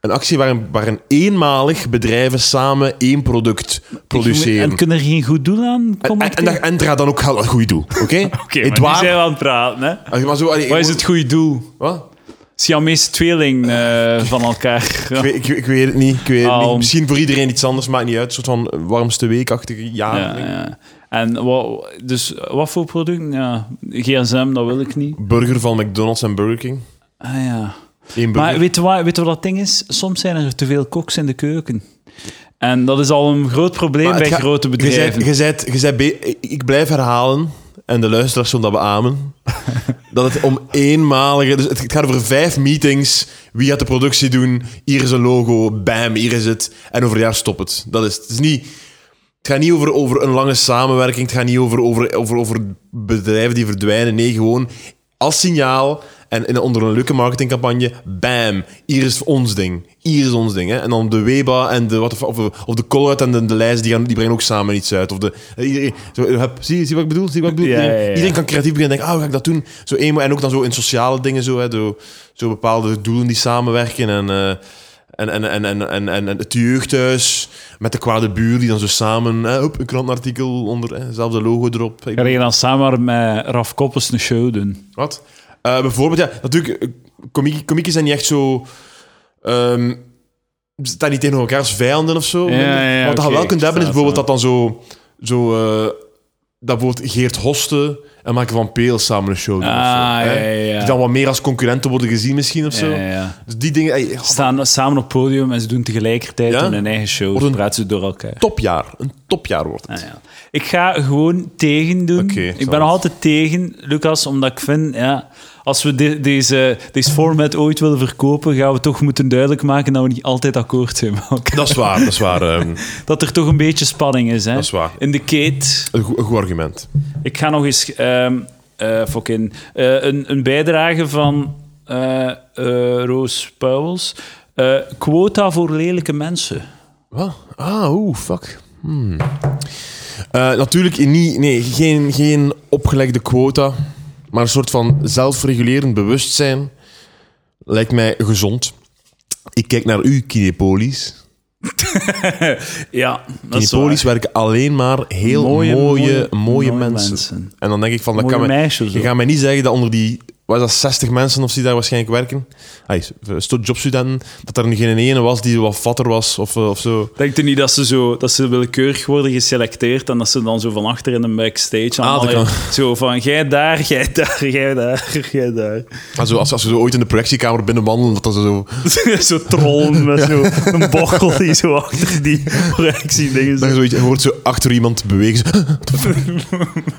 S2: Een actie waarin, waarin eenmalig bedrijven samen één product produceren.
S1: En kunnen er geen goed doel aan
S2: En,
S1: komen?
S2: en, en, en draai dan ook geld aan het goede doel, oké?
S1: Oké, maar nu
S2: Edouard,
S1: zijn we aan het praten. Hè?
S2: als je maar zo... allee,
S1: Wat is
S2: gewoon-
S1: het goede doel?
S2: Wat?
S1: Siamese tweeling eh, van elkaar.
S2: Ik, weet, ik, ik weet het niet, ik weet het
S1: Al-
S2: niet. Misschien voor iedereen iets anders, maakt niet uit. Een soort van warmste weekachtige jaar.
S1: Ja, ja. En wat, dus wat voor product? Ja, gsm, dat wil ik niet.
S2: Burger van McDonald's en Burger King.
S1: Ah ja.
S2: Eén burger.
S1: Maar weet je, wat, weet je wat dat ding is? Soms zijn er te veel koks in de keuken. En dat is al een groot probleem
S2: Maar het
S1: bij
S2: gaat-
S1: grote bedrijven.
S2: Je zei, je zei, ik blijf herhalen, en de luisteraars zullen dat beamen, dat het om eenmalige... Dus het, het gaat over vijf meetings. Wie gaat de productie doen? Hier is een logo. Bam, hier is het. En over een jaar stopt het. Dat is het. Het, is niet, het gaat niet over, over een lange samenwerking. Het gaat niet over, over, over, over bedrijven die verdwijnen. Nee, gewoon als signaal... En in, onder een leuke marketingcampagne, bam, hier is ons ding. Hier is ons ding. Hè? En dan de Weba en de, what the fu- of, of de Colruyt en de, de lijst, die, gaan, die brengen ook samen iets uit. Of de, eh, iedereen- zo, eh, heb- zie, zie wat ik bedoel? Zie wat ik bedoel?
S1: Ja, ja, ja.
S2: Iedereen kan creatief beginnen denken, ah, hoe ga ik dat doen? Zo eenmaal, en ook dan zo in sociale dingen, zo, hè, zo, zo bepaalde doelen die samenwerken. En, eh, en, en, en, en, en, en, en het jeugdhuis met de kwade buur, die dan zo samen hè, hop, een krantenartikel onder, hè, zelfde logo erop. Ik-
S1: Ga je dan samen met Raf Koppers een show doen?
S2: wat? Eh, bijvoorbeeld, ja, natuurlijk, eh, komie- komieken zijn niet echt zo. ehm, ze staan niet tegen elkaar als vijanden of zo.
S1: Ja, ja, ja,
S2: Wat je
S1: oké,
S2: wel kunt
S1: ik
S2: hebben is
S1: versta
S2: bijvoorbeeld
S1: het
S2: dat dan zo. zo eh, dat bijvoorbeeld Geert Hoste en Mark van Peel samen een show doen. of zo,
S1: Ah, ja,
S2: hè.
S1: ja, ja.
S2: Die dan wat meer als concurrenten worden gezien misschien of zo.
S1: Ja, ja, ja.
S2: Dus die dingen. ey,
S1: Staan samen op het podium en ze doen tegelijkertijd
S2: Ja?
S1: hun eigen show.
S2: Of een-
S1: Dan praten ze door elkaar.
S2: topjaar. Een topjaar wordt het.
S1: Ah, ja. Ik ga gewoon tegen doen.
S2: Oké,
S1: ik
S2: zal
S1: ben nog
S2: het.
S1: altijd tegen, Lucas, omdat ik vind, ja, als we de- deze, deze format ooit willen verkopen, gaan we toch moeten duidelijk maken dat we niet altijd akkoord zijn. met elkaar.
S2: Dat is waar, dat is waar. ehm,
S1: Dat er toch een beetje spanning is, hè?
S2: Dat is waar.
S1: In de keet.
S2: een, goed, een goed argument.
S1: Ik ga nog eens ehm eh, fucking, eh, een, een bijdrage van eh, eh, Roos Pauwels. Eh, quota voor lelijke mensen.
S2: Wat? Ah, oeh, fuck. Hmm. Eh, natuurlijk niet, nee, geen, geen opgelegde quota, maar een soort van zelfregulerend bewustzijn lijkt mij gezond. Ik kijk naar u, Kinepolis.
S1: Ja, dat is waar.
S2: Kinepolis werken alleen maar heel mooie,
S1: Mooie,
S2: mooie,
S1: mooie- mooie
S2: mensen.
S1: mensen.
S2: En dan denk ik van, dat
S1: Mooie
S2: kan mij-
S1: meisjes
S2: je
S1: ook.
S2: gaat mij niet zeggen dat onder die wat is dat, 60 mensen of die daar waarschijnlijk werken, ay, sto- jobstudenten, dat er geen ene was die wat vatter was of, eh, of zo.
S1: Denk je niet dat ze, zo, dat ze willekeurig worden geselecteerd en dat ze dan zo van achter in een backstage
S2: Ah, dat
S1: allemaal
S2: kan.
S1: zo van jij daar, jij daar, jij daar, jij daar.
S2: Maar zo, als, als we zo ooit in de projectiekamer binnenwandelen, dat dat zo...
S1: zo trollen met zo een bochel die zo achter die reactiedingen zit.
S2: Dat je, zoiets, je hoort zo achter iemand bewegen. zo,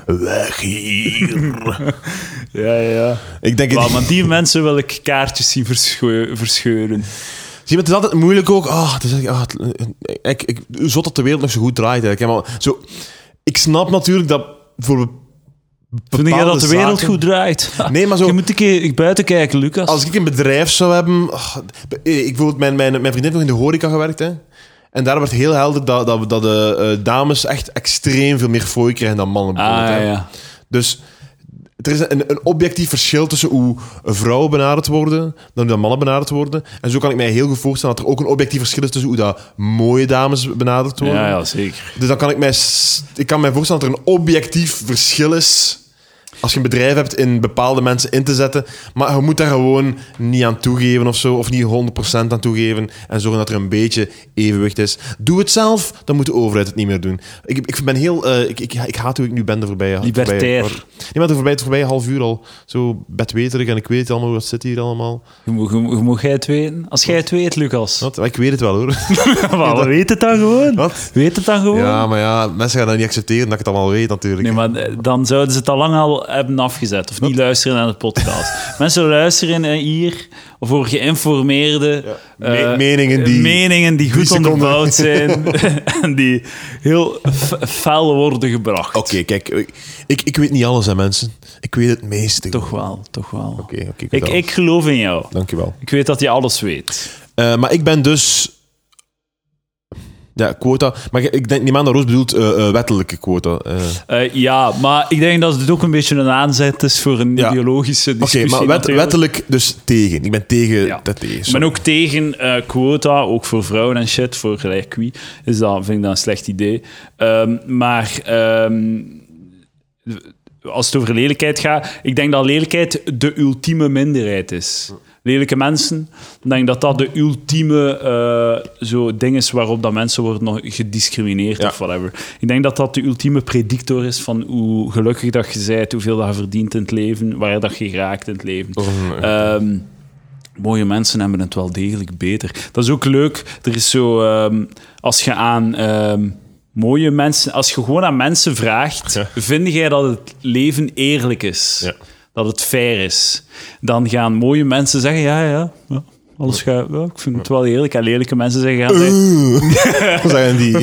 S2: Weg hier.
S1: Ja, ja.
S2: Ik denk...
S1: Wauw,
S2: Het,
S1: maar die mensen wil ik kaartjes zien verscheu- verscheuren.
S2: Zie je, het is altijd moeilijk ook. Ah, het is, ah, het- ik, ik, zot dat de wereld nog zo goed draait. Eigenlijk. hè, Maar zo, ik snap natuurlijk dat voor be-
S1: Vind jij dat de
S2: bepaalde
S1: wereld
S2: zaken-
S1: goed draait?
S2: Nee, maar zo-
S1: Je moet een keer buiten kijken, Lucas.
S2: Als ik een bedrijf zou hebben... ah, ik, bijvoorbeeld, mijn, mijn, mijn vriendin heeft nog in de horeca gewerkt, hè. En daar werd heel helder dat, dat, dat de eh, dames echt extreem veel meer fooi krijgen dan mannen.
S1: Ah,
S2: bijvoorbeeld,
S1: ja,
S2: hè.
S1: ja.
S2: Dus er is een, een objectief verschil tussen hoe vrouwen benaderd worden dan hoe dat mannen benaderd worden. En zo kan ik mij heel goed voorstellen dat er ook een objectief verschil is tussen hoe dat mooie dames benaderd worden.
S1: Ja, ja, zeker.
S2: Dus dan kan ik mij, s- ik kan mij voorstellen dat er een objectief verschil is als je een bedrijf hebt in bepaalde mensen in te zetten. Maar je moet daar gewoon niet aan toegeven of zo, of niet 100% aan toegeven en zorgen dat er een beetje evenwicht is. Doe het zelf, dan moet de overheid het niet meer doen. Ik, ik ben heel, eh, ik, ik, ik haat hoe ik nu ben de voorbije
S1: Libertair.
S2: voorbije- Nee, maar de voorbije, het voorbije half uur al zo bedweterig en ik weet allemaal wat zit hier allemaal.
S1: Je moet, je moet- je moet jij het weten. Als jij het weet, Lucas.
S2: Wat? Ik weet het wel hoor.
S3: Maar we weten het dan gewoon.
S2: Wat?
S1: Weet het dan gewoon.
S2: Ja, maar ja, mensen gaan dat niet accepteren dat ik het allemaal weet natuurlijk.
S1: Nee, maar eh, dan zouden ze het al lang al hebben afgezet. Of niet luisteren naar de podcast. Mensen luisteren eh, hier voor geïnformeerde...
S2: Me-
S1: eh,
S2: meningen die-
S1: meningen die
S2: drie
S1: goed
S2: seconden.
S1: onderbouwd zijn. en die heel f- fel worden gebracht.
S2: Oké, kijk, ik, ik, ik weet niet alles, hè, mensen. Ik weet het meeste.
S1: Toch wel, toch wel.
S2: Oké, oké. ik
S1: ik,
S2: weet alles.
S1: ik geloof in jou.
S2: Dankjewel.
S1: Ik weet dat je alles weet.
S2: Eh, maar ik ben dus... Ja, quota. Maar ik- ik denk niet aan dat Roos bedoelt eh, eh, wettelijke quota. eh.
S1: Eh, ja, maar ik denk dat het ook een beetje een aanzet is voor een
S2: Ja.
S1: ideologische
S2: Oké,
S1: discussie.
S2: maar wet,
S1: natuurlijk.
S2: wettelijk dus tegen. Ik ben tegen
S1: Ja.
S2: dat tegen.
S1: Ik ben ook tegen eh, quota, ook voor vrouwen en shit, voor gelijk wie. Is dat, vind ik dat een slecht idee. Ehm, maar ehm, als het over lelijkheid gaat, ik denk dat lelijkheid de ultieme minderheid is. Lelijke mensen, ik denk dat dat de ultieme eh, zo ding is waarop dat mensen worden nog gediscrimineerd
S2: Ja.
S1: of whatever. Ik denk dat dat de ultieme predictor is van hoe gelukkig dat je bent, hoeveel dat je verdient in het leven, waar dat je raakt in het leven.
S2: Dat is een-
S1: Ehm, mooie mensen hebben het wel degelijk beter. Dat is ook leuk. Er is zo, ehm, als je aan ehm, mooie mensen, als je gewoon aan mensen vraagt,
S2: Ja.
S1: vind jij dat het leven eerlijk is?
S2: Ja.
S1: Dat het fair is? Dan gaan mooie mensen zeggen, ja, ja, ja. Alles gaat, ja, ik vind het wel eerlijk. En lelijke mensen zeggen,
S2: Eh.
S1: gaan zeggen,
S2: zijn die.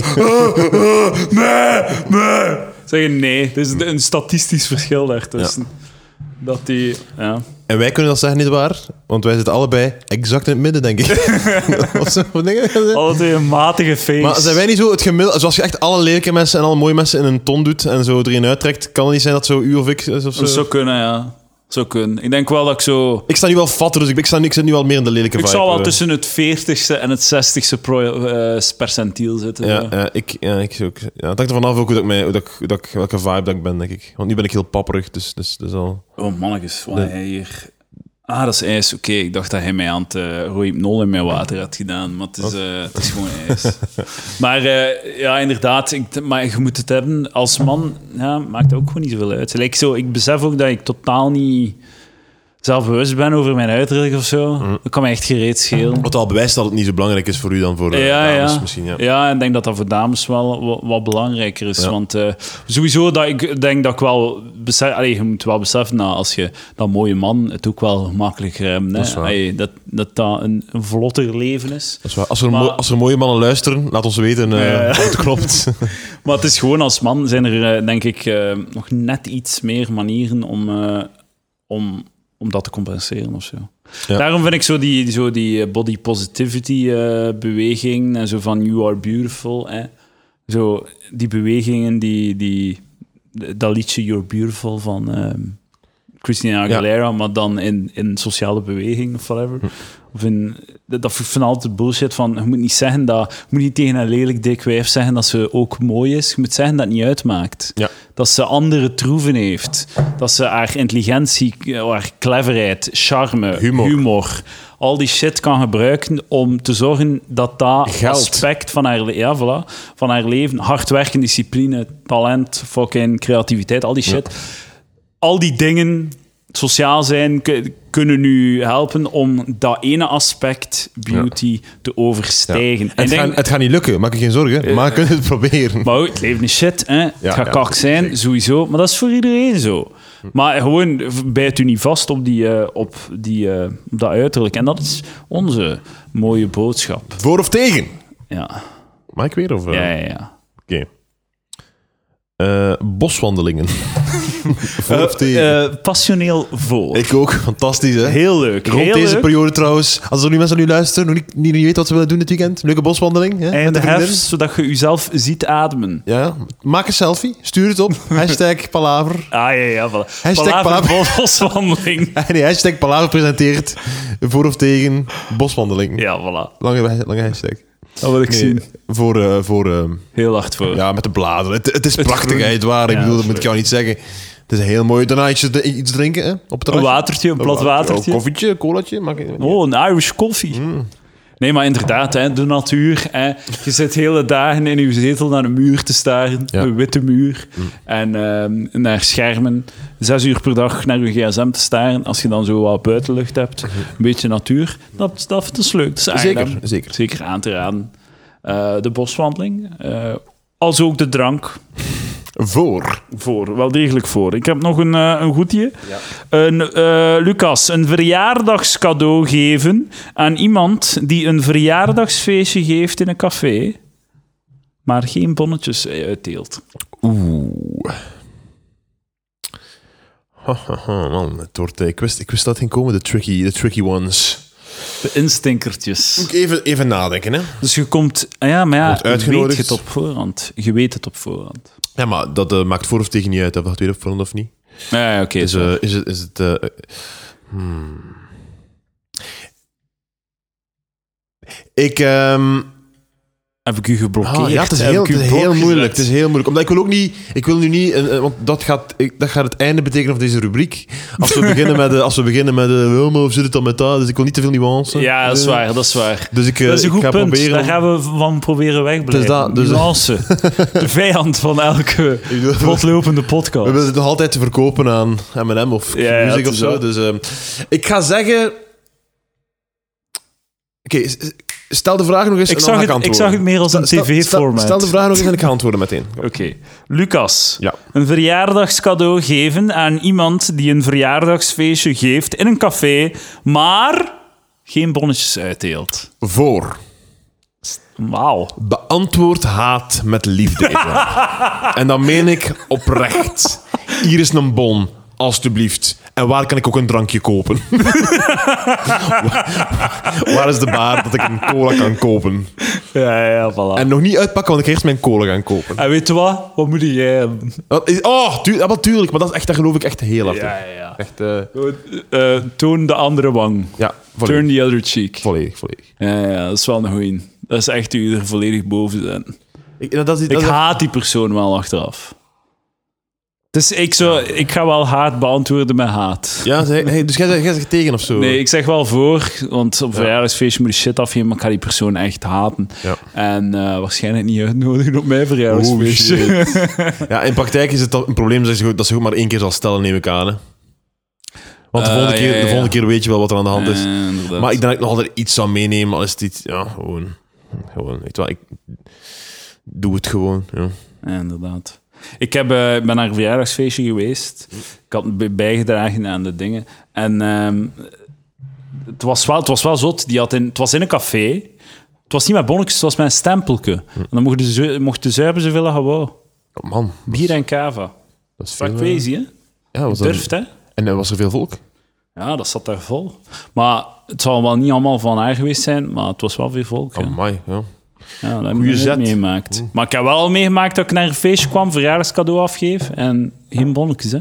S1: zeggen nee. Er is een statistisch verschil daartussen. Dat die... Ja.
S2: En wij kunnen dat zeggen, niet waar? Want wij zitten allebei exact in het midden, denk ik. Wat zijn voor dingen?
S3: Alle twee een matige face.
S2: Maar zijn wij niet zo het gemiddelde... Zoals je echt alle lelijke mensen en alle mooie mensen in een ton doet en zo erin uittrekt, kan het niet zijn dat zo u of ik is of zo?
S1: Dat zou kunnen, ja. Zou kunnen. Ik denk wel dat ik zo...
S2: Ik sta nu wel fatter, dus ik, ik, sta nu, ik zit nu wel meer in de lelijke
S1: Ik
S2: vibe.
S1: zal wel
S2: eh.
S1: tussen het 40ste en het 60ste pro- eh, percentiel zitten. eh.
S2: Ja, ja, ik, ja, ik ook. Ja, het hangt er vanaf ook hoe dat ik mij, hoe dat ik, hoe dat ik, welke vibe dat ik ben, denk ik. Want nu ben ik heel papperig, dus, dus, dus al...
S1: Oh, mannetjes, wat hij hier... Ah, dat is ijs. Oké, ik dacht dat hij mij aan het eh rohypnol in mijn water had gedaan, maar het is,
S2: Oh.
S1: eh, het is gewoon ijs. maar eh, ja, inderdaad, ik, maar je moet het hebben. Als man ja, maakt dat ook gewoon niet zoveel uit. Like zo, ik besef ook dat ik totaal niet zelfbewust ben over mijn uiterlijk of zo.
S2: Mm.
S1: Dat kan me echt gereed schelen.
S2: Wat al bewijst dat het niet zo belangrijk is voor u dan voor eh,
S1: Ja,
S2: dames
S1: ja.
S2: misschien, ja.
S1: ik denk dat dat voor dames wel wat, wat belangrijker is.
S2: Ja.
S1: Want eh, sowieso dat ik denk dat ik wel besef, allee, je moet wel beseffen dat als je dat mooie man het ook wel makkelijker hebt.
S2: Dat is
S1: Dat,
S2: waar.
S1: dat, dat dat een, een vlotter leven is.
S2: Dat is waar. Als, er
S1: Maar-
S2: mo- als er mooie mannen luisteren, laat ons weten eh
S1: Ja, ja.
S2: of het klopt.
S1: Maar het is gewoon als man zijn er eh, denk ik eh, nog net iets meer manieren om, eh, om, om dat te compenseren of zo.
S2: Ja.
S1: Daarom vind ik zo die, zo die eh, body positivity eh, beweging en zo van you are beautiful. Hè. Zo die bewegingen, die, die, dat liedje You're Beautiful van ehm, Christina Aguilera, maar dan in, in sociale beweging of whatever. Of in, dat dat vind ik altijd bullshit van, je moet niet zeggen dat, je moet niet tegen een lelijk dik wijf zeggen dat ze ook mooi is. Je moet zeggen dat het niet uitmaakt.
S2: Ja.
S1: Dat ze andere troeven heeft. Dat ze haar intelligentie, eh, haar cleverheid, charme,
S2: Humor.
S1: al die shit kan gebruiken om te zorgen dat dat
S2: Geld.
S1: aspect van haar, le- ja, voilà, van haar leven, hard werken, discipline, talent, fucking creativiteit, al die shit. Al die dingen, sociaal zijn, ku- kunnen u helpen om dat ene aspect, beauty, te overstijgen. En
S2: Het,
S1: ik denk-
S2: gaat, het gaat niet lukken, maak je geen zorgen. Maar we kunnen het proberen.
S1: maar goed, het leven is shit, hè. het
S2: Ja,
S1: gaat
S2: ja,
S1: kak zijn, sowieso. Maar dat is voor iedereen zo. Maar gewoon, v- bijt u niet vast op, die, eh, op, die, eh, op dat uiterlijk. En dat is onze mooie boodschap.
S2: Voor of tegen?
S1: Ja,
S2: Mag ik weer? Of, eh?
S1: ja, ja. ja.
S2: Oké. Eh, boswandelingen. voor of tegen?
S1: Eh, passioneel voor.
S2: ik ook, fantastisch hè.
S1: Heel leuk.
S2: Rond
S1: heel
S2: deze
S1: leuk.
S2: periode trouwens, als er nu mensen nu luisteren, nog niet, niet, niet weten wat ze willen doen dit weekend. Leuke boswandeling. Hè,
S1: En
S2: met
S1: de
S2: vriendin.
S1: herfst, zodat je jezelf ziet ademen.
S2: Ja, maak een selfie, stuur het op. Hashtag Palaver.
S1: Ah, ja, ja, voilà.
S2: Hashtag
S1: Palaver boswandeling.
S2: Nee, hashtag Palaver presenteert voor of tegen boswandeling.
S1: Ja, voilà.
S2: Lange, lange hashtag.
S1: Dat wil ik
S2: Nee,
S1: zien.
S2: Voor, eh, voor eh,
S1: Heel hard voor.
S2: ja, met de bladeren. Het, het is prachtig,
S1: groen.
S2: hè, het waar. Ik
S1: Ja, dat
S2: bedoel, dat
S1: is
S2: moet ik jou niet zeggen. Het is een heel mooi. Daarna iets, iets drinken, hè? Op het
S1: Een
S2: terrasje.
S1: watertje, een plat watertje.
S2: Een koffietje, colaatje. Maak ik,
S1: Oh, een Irish koffie.
S2: Mm.
S1: Nee, maar inderdaad, hè, de natuur. Hè. Je zit hele dagen in je zetel naar een muur te staren,
S2: Ja. Mm.
S1: een witte muur. En ehm, naar schermen. Zes uur per dag naar je gsm te staren. Als je dan zo wat buitenlucht hebt, een beetje natuur. Dat, dat, dat is leuk. Dat is aangenaam.
S2: Mhm. Zeker, zeker.
S1: Zeker aan te raden. Eh, de boswandeling. eh, als ook de drank.
S2: Voor.
S1: Voor, wel degelijk voor. Ik heb nog een, eh, een goedje. Een, eh, Lucas, een verjaardagscadeau geven aan iemand die een verjaardagsfeestje geeft in een café, maar geen bonnetjes eh, uitdeelt.
S2: Oeh. Hahaha, man. Het wordt, eh, ik, wist, ik wist dat het ging komen, de tricky, de tricky ones.
S1: De instinkertjes.
S2: Moet ik even, even nadenken, hè?
S1: Dus je komt... ah Ja, maar
S2: Wordt
S1: ja, je weet
S2: uitgenodigd.
S1: het op voorhand. Je weet het op voorhand.
S2: Ja, maar dat eh, maakt voor of tegen niet uit, of dat weer op voorhand of niet.
S1: Ja, ja, oké.
S2: Is,
S1: zo.
S2: eh, is het. Is het eh, hmm. Ik. ehm,
S1: Heb ik u geblokkeerd?
S2: Ah, ja, het is,
S1: Heb
S2: heel,
S1: ik u
S2: het is
S1: blok
S2: heel
S1: gezet?
S2: moeilijk. Het is heel moeilijk. Omdat ik wil ook niet... Ik wil nu niet... eh, eh, want dat gaat, ik- dat gaat het einde betekenen van deze rubriek. Als we beginnen met... eh, Als we beginnen met eh, oh, maar hoe zit het dan met dat? Dus ik wil niet te veel nuance.
S1: Ja, dat is waar, dat is waar.
S2: Dus ik, eh,
S1: dat is een
S2: ik
S1: goed
S2: ga
S1: punt.
S2: proberen...
S1: Daar gaan we van proberen wegblijven.
S2: Dus dat- dus-
S1: Nuance. De vijand van elke
S2: bedoel-
S1: vlotlopende
S2: We
S1: podcast.
S2: willen het nog altijd verkopen aan M&M of
S1: Ja, ja,
S2: music
S1: het
S2: of
S1: is
S2: zo.
S1: wel.
S2: Dus ehm, ik ga zeggen... Oké, s- s- stel de vraag nog eens
S1: Ik
S2: en
S1: zag,
S2: dan ga
S1: het, ik
S2: ik antwoorden.
S1: zag het meer als een
S2: Stel- stel,
S1: tv-format.
S2: stel de
S1: Oké.
S2: vraag nog eens en ik ga antwoorden meteen. Kom.
S1: Lucas,
S2: Ja.
S1: een verjaardagscadeau geven aan iemand die een verjaardagsfeestje geeft in een café, maar geen bonnetjes uitdeelt.
S2: Voor.
S1: Wauw.
S2: Beantwoord haat met liefde. Edouard. en dat meen ik oprecht. Hier is een bon, alstublieft. En waar kan ik ook een drankje kopen? Waar- waar is de bar dat ik een cola kan kopen?
S1: Ja, ja, voilà. En,
S2: En nog niet uitpakken, want ik ga eerst mijn cola gaan kopen.
S1: weet je wat? Wat moet jij hebben?
S2: Wat is- Oh, tu- ja, wel, tuurlijk, maar dat is echt, daar geloof ik echt heel hard in.
S1: Ja, ja, ja.
S2: Echt, eh,
S1: Eh, toon de andere wang.
S2: ja, volledig.
S1: Turn the other cheek.
S2: Volledig, volledig.
S1: Ja, ja, dat is wel een goeie. Dat is echt u er volledig boven zijn.
S2: Ik, dat is,
S1: Ik
S2: dat is-
S1: haat die persoon wel achteraf. Dus ik, zou, ik ga wel haat beantwoorden met haat.
S2: Ja, zeg- hey, dus jij zegt- jij zegt tegen of zo?
S1: Nee, ik zeg wel voor, want op een verjaardagsfeestje moet je shit afgeven, maar ik ga die persoon echt haten.
S2: Ja.
S1: En eh, waarschijnlijk niet uitnodigen op mijn
S2: Oh,
S1: verjaardagsfeestje.
S2: shit. ja, in praktijk is het al een probleem dat ze, goed- dat ze goed maar één keer zal stellen, neem ik aan. Hè. Want de
S1: Eh,
S2: volgende, keer,
S1: ja, ja,
S2: de volgende
S1: ja.
S2: keer weet je wel wat er aan de hand is.
S1: Eh, inderdaad.
S2: maar ik denk dat ik nog altijd iets zou meenemen als het iets... Ja, gewoon... Gewoon, weet je wel, ik... Doe het gewoon, ja.
S1: Ja, inderdaad. Ik heb, eh, ik ben naar een verjaardagsfeestje geweest. Ik had bij- bijgedragen aan de dingen. En ehm, het, was wel, het was wel zot. Die had in, het was in een café. Het was niet met bonnetjes, het was met een stempelke. En dan mochten ze, mochten zuipen zoveel als je wou.
S2: Oh, man,
S1: Bier en cava.
S2: dat is veel...
S1: Dat
S2: eh,
S1: crazy, hè?
S2: ja, was dat-
S1: Durft, hè?
S2: En eh, was er veel volk?
S1: Ja, dat zat daar vol. Maar het zal wel niet allemaal van haar geweest zijn, maar het was wel veel volk. hè.
S2: Oh my, ja.
S1: Ja, dat heb ik nog
S2: zet.
S1: niet meegemaakt. Maar ik heb wel meegemaakt dat ik naar een feestje kwam, verjaardagscadeau afgeef en geen bonnetjes, hè.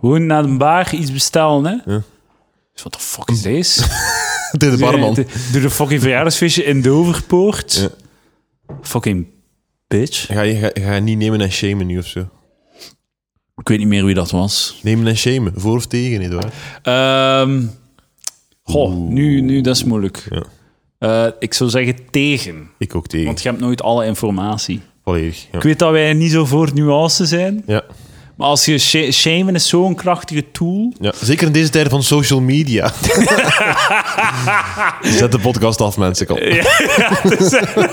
S1: Gewoon naar de bar iets bestellen, hè. Dus wat de fuck is deze?
S2: Tegen de barman.
S1: Doe de fucking verjaardagsfeestje in Doverpoort.
S2: Ja.
S1: Fucking bitch.
S2: Ga je, ga, ga je niet nemen en shamen nu of zo?
S1: Ik weet niet meer wie dat was.
S2: Nemen en shamen, voor of tegen, Eduard?
S1: Ehm goh, nu, nu, dat is moeilijk.
S2: Ja.
S1: Eh, ik zou zeggen tegen,
S2: Ik ook tegen.
S1: want je hebt nooit alle informatie.
S2: Volledig, ja.
S1: Ik weet dat wij niet zo voor nuance zijn,
S2: ja.
S1: Maar als je sha- shamen is zo'n krachtige tool.
S2: Ja, zeker in deze tijden van social media. Zet de podcast af, mensen. Kom.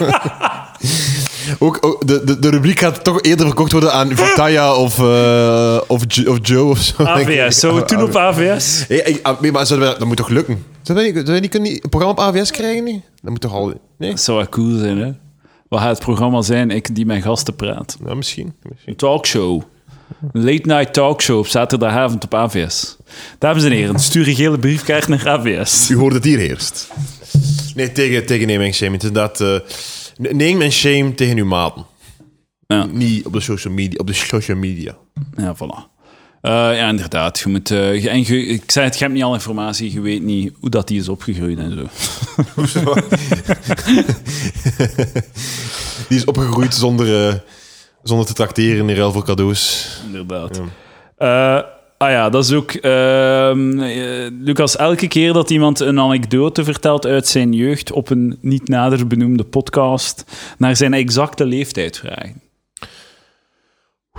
S2: ook, ook de, de, de rubriek gaat toch eerder verkocht worden aan Vitaya of, eh, of, Jo- of Joe of zo. denk ik.
S1: AVS, zo toen op AVS.
S2: Hey, hey, ah, nee, maar zouden we- dat moet toch lukken? Zouden wij, zouden wij niet, kunnen niet een programma op AVS krijgen? Niet? Dat moet toch al... Nee?
S1: Dat zou wel cool zijn, hè? Wat gaat het programma zijn? Ik die mijn gasten praat.
S2: Ja, misschien. Nou, misschien.
S1: Een talkshow. Een late night talkshow op zaterdagavond op AVS. Dames en heren, stuur een gele briefkaart naar AVS.
S2: U hoort het hier eerst. Nee, tegen, tegen Neem en Shame. Het is inderdaad... eh, ne- neem en Shame tegen uw maten.
S1: Ja.
S2: Niet op de social media. Op de social media.
S1: Ja, voilà. Eh, ja, inderdaad. Je moet, eh, je- en je- ik zei het, je hebt niet al informatie. Je weet niet hoe dat die is opgegroeid en zo.
S2: Die is opgegroeid zonder, eh, zonder te tracteren in ruil voor cadeaus.
S1: Inderdaad. Eh, ah ja, dat is ook. ehm, eh, Lucas, elke keer dat iemand een anekdote vertelt uit zijn jeugd op een niet nader benoemde podcast, naar zijn exacte leeftijd vragen.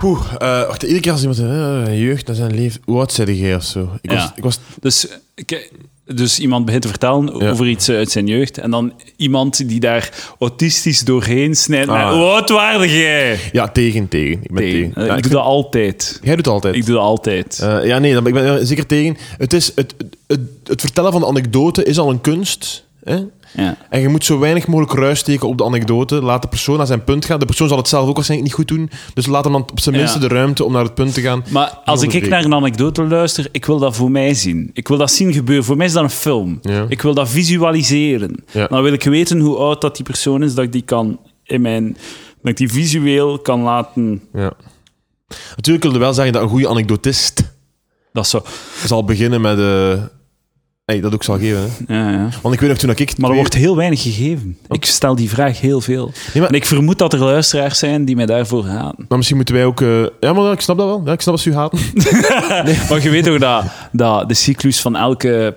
S2: Oeh, eh, wacht, iedere keer als iemand zegt, eh, jeugd, dat zijn leef... Hoe oud zei jij of zo? Ik was...
S1: Ja.
S2: Ik was
S1: Dus, eh, ik- dus iemand begint te vertellen
S2: Ja.
S1: over iets eh, uit zijn jeugd, en dan iemand die daar autistisch doorheen snijdt.
S2: Ah.
S1: naar, Hoe oud waarde jij?
S2: ja, tegen, tegen. Ik ben
S1: Nee,
S2: tegen.
S1: eh,
S2: Ja,
S1: ik
S2: ik
S1: doe
S2: vind-
S1: dat altijd.
S2: Jij doet het altijd.
S1: Ik doe dat altijd.
S2: Eh, ja, nee, dan ben ik ben ik zeker tegen. Het, is, het, het, het, het vertellen van de anekdote is al een kunst. Hè?
S1: ja.
S2: En je moet zo weinig mogelijk ruis steken op de anekdote. Laat de persoon naar zijn punt gaan. De persoon zal het zelf ook waarschijnlijk niet goed doen. Dus laat hem dan op zijn
S1: Ja.
S2: minste de ruimte om naar het punt te gaan.
S1: Maar als ik,
S2: onderbreken.
S1: naar een anekdote luister, ik wil dat voor mij zien. Ik wil dat zien gebeuren. Voor mij is dat een film.
S2: Ja.
S1: Ik wil dat visualiseren.
S2: Ja.
S1: Dan wil ik weten hoe oud dat die persoon is, dat ik die kan in mijn... Dat ik die visueel kan laten...
S2: Ja. Natuurlijk wil je wel zeggen dat een goede anekdotist
S1: Dat zo...
S2: zal beginnen met... eh, Hey, dat ook zal geven. Hè.
S1: Ja, ja.
S2: Want ik weet nog toen ik...
S1: Maar er
S2: twee-
S1: wordt heel weinig gegeven. Ik stel die vraag heel veel.
S2: Nee, maar-
S1: En ik vermoed dat er luisteraars zijn die mij daarvoor haten.
S2: Maar misschien moeten wij ook... eh, Ja, maar ja, ik snap dat wel. Ja, ik snap wat ze u haten.
S1: Maar je weet toch dat, dat de cyclus van elke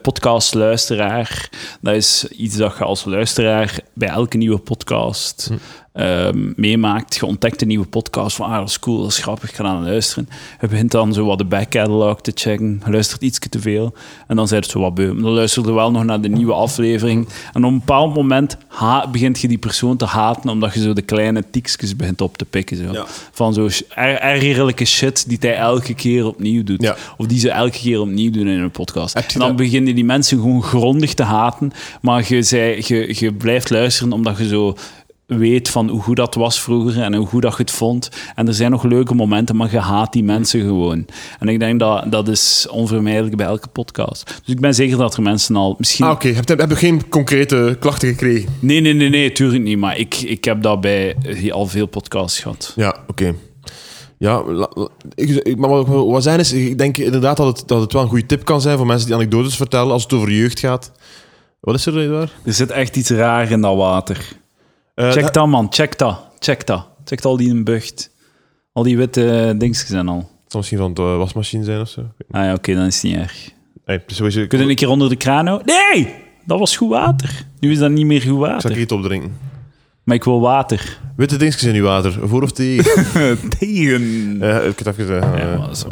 S1: podcastluisteraar... Dat is iets dat je als luisteraar bij elke nieuwe podcast ehm, meemaakt. Je ontdekt een nieuwe podcast van, ah, dat is cool, dat is grappig, ik ga aan luisteren. Je begint dan zo wat de back catalog te checken. Je luistert ietsje te veel. En dan zijn het zo wat beu. Maar Dan luister je wel nog naar de nieuwe aflevering. En op een bepaald moment ha- begint je die persoon te haten, omdat je zo de kleine tikjes begint op te pikken. Zo. Van zo sh- er- ergerlijke shit die hij elke keer opnieuw doet.
S2: Ja.
S1: Of die ze elke keer opnieuw doen in een podcast.
S2: Heb je
S1: En dan
S2: dat-
S1: beginnen die mensen gewoon grondig te haten. Maar je, zei, je, je blijft luisteren omdat je zo weet van hoe goed dat was vroeger en hoe goed dat je het vond. En er zijn nog leuke momenten, maar je haat die mensen gewoon. En ik denk dat dat is onvermijdelijk bij elke podcast. Dus ik ben zeker dat er mensen al... Misschien
S2: Ah, oké. Heb je heb je geen concrete klachten gekregen?
S1: Nee, nee, nee, nee, tuurlijk niet. Maar ik, ik heb dat bij eh, al veel podcasts gehad.
S2: Ja, oké. Ja, la- la- ik, ik- maar wat, wat zijn is, ik denk inderdaad dat het, dat het wel een goede tip kan zijn voor mensen die anekdotes vertellen als het over jeugd gaat. Wat is er, Edouard?
S1: Er zit echt iets raar in dat water.
S2: Eh,
S1: Check
S2: dat-
S1: dat, man. Check dat. Check dat. Check al die in bucht. Al die witte eh, dingetjes en al.
S2: Het zal misschien van de wasmachine zijn of zo.
S1: Ah ja, oké, dan is het niet erg.
S2: Nee, het is sowieso, ik,
S1: Kunnen we een keer onder de kraan houden? Nee! Dat was goed water. Nu is dat niet meer goed
S2: zal ik
S1: water.
S2: iets opdrinken.
S1: Maar ik wil water.
S2: Witte dingetjes in uw water, voor of tegen?
S1: Tegen.
S2: Eh, ik heb het even zeggen.
S1: Ja,
S2: eh.
S1: maar zo.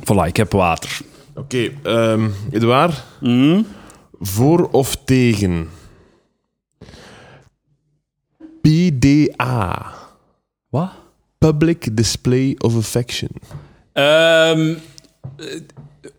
S1: Voilà, ik heb water.
S2: Oké, ehm Edouard,
S1: Mhm.
S2: voor of tegen? PDA,
S1: Wat?
S2: Public Display of Affection.
S1: Ehm, eh,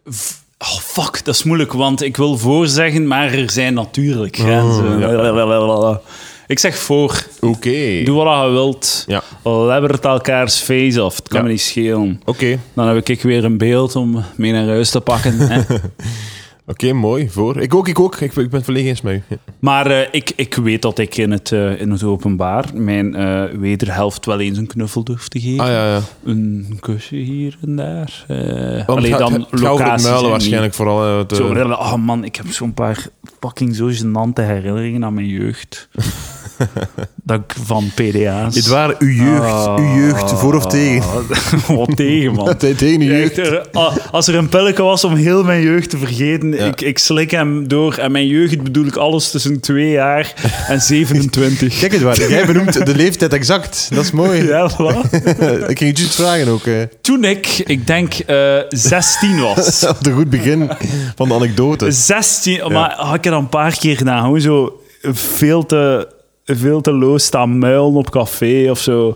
S1: v- oh, fuck, dat is moeilijk, want ik wil voorzeggen, maar er zijn natuurlijk
S2: Oh,
S1: grenzen. Ik zeg voor.
S2: Oké.
S1: Doe wat je wilt.
S2: Ja.
S1: Lebbert elkaars face af. Het kan
S2: Ja.
S1: me niet schelen.
S2: Oké,
S1: Dan heb ik weer een beeld om mee naar huis te pakken. hè.
S2: oké, mooi. Voor. Ik ook, ik ook. Ik, ik ben verlegen eens met u.
S1: Maar eh, ik, ik weet dat ik in het, eh, in het openbaar mijn eh, wederhelft wel eens een knuffel durf te geven.
S2: Ah ja, ja.
S1: Een kusje hier en daar. Eh
S2: Want
S1: allee,
S2: het gaat-
S1: dan
S2: het gaat over het
S1: locaties en
S2: muilen
S1: niet-
S2: waarschijnlijk vooral. eh, het, eh,
S1: Zo, rellen. oh man, ik heb zo'n paar fucking zo gênante herinneringen aan mijn jeugd. dat ik van PDA's...
S2: Edouard, uw jeugd,
S1: Ah.
S2: uw jeugd, voor of tegen?
S1: Wat tegen, man.
S2: Te- tegen uw
S1: Echt,
S2: jeugd.
S1: er- ah, als er een pilletje was om heel mijn jeugd te vergeten,
S2: Ja.
S1: ik, ik slik hem door. En mijn jeugd bedoel ik alles tussen 2 jaar en 27.
S2: Kijk Edouard, jij benoemt de leeftijd exact. Dat is mooi.
S1: ja, voilà.
S2: ik ging het juist vragen ook. eh.
S1: Toen ik, ik denk, eh 16 was.
S2: op een goed begin van de anekdote.
S1: 16, maar had ik er een paar keer na gewoon zo veel te, veel te loos staan muilen op café of zo.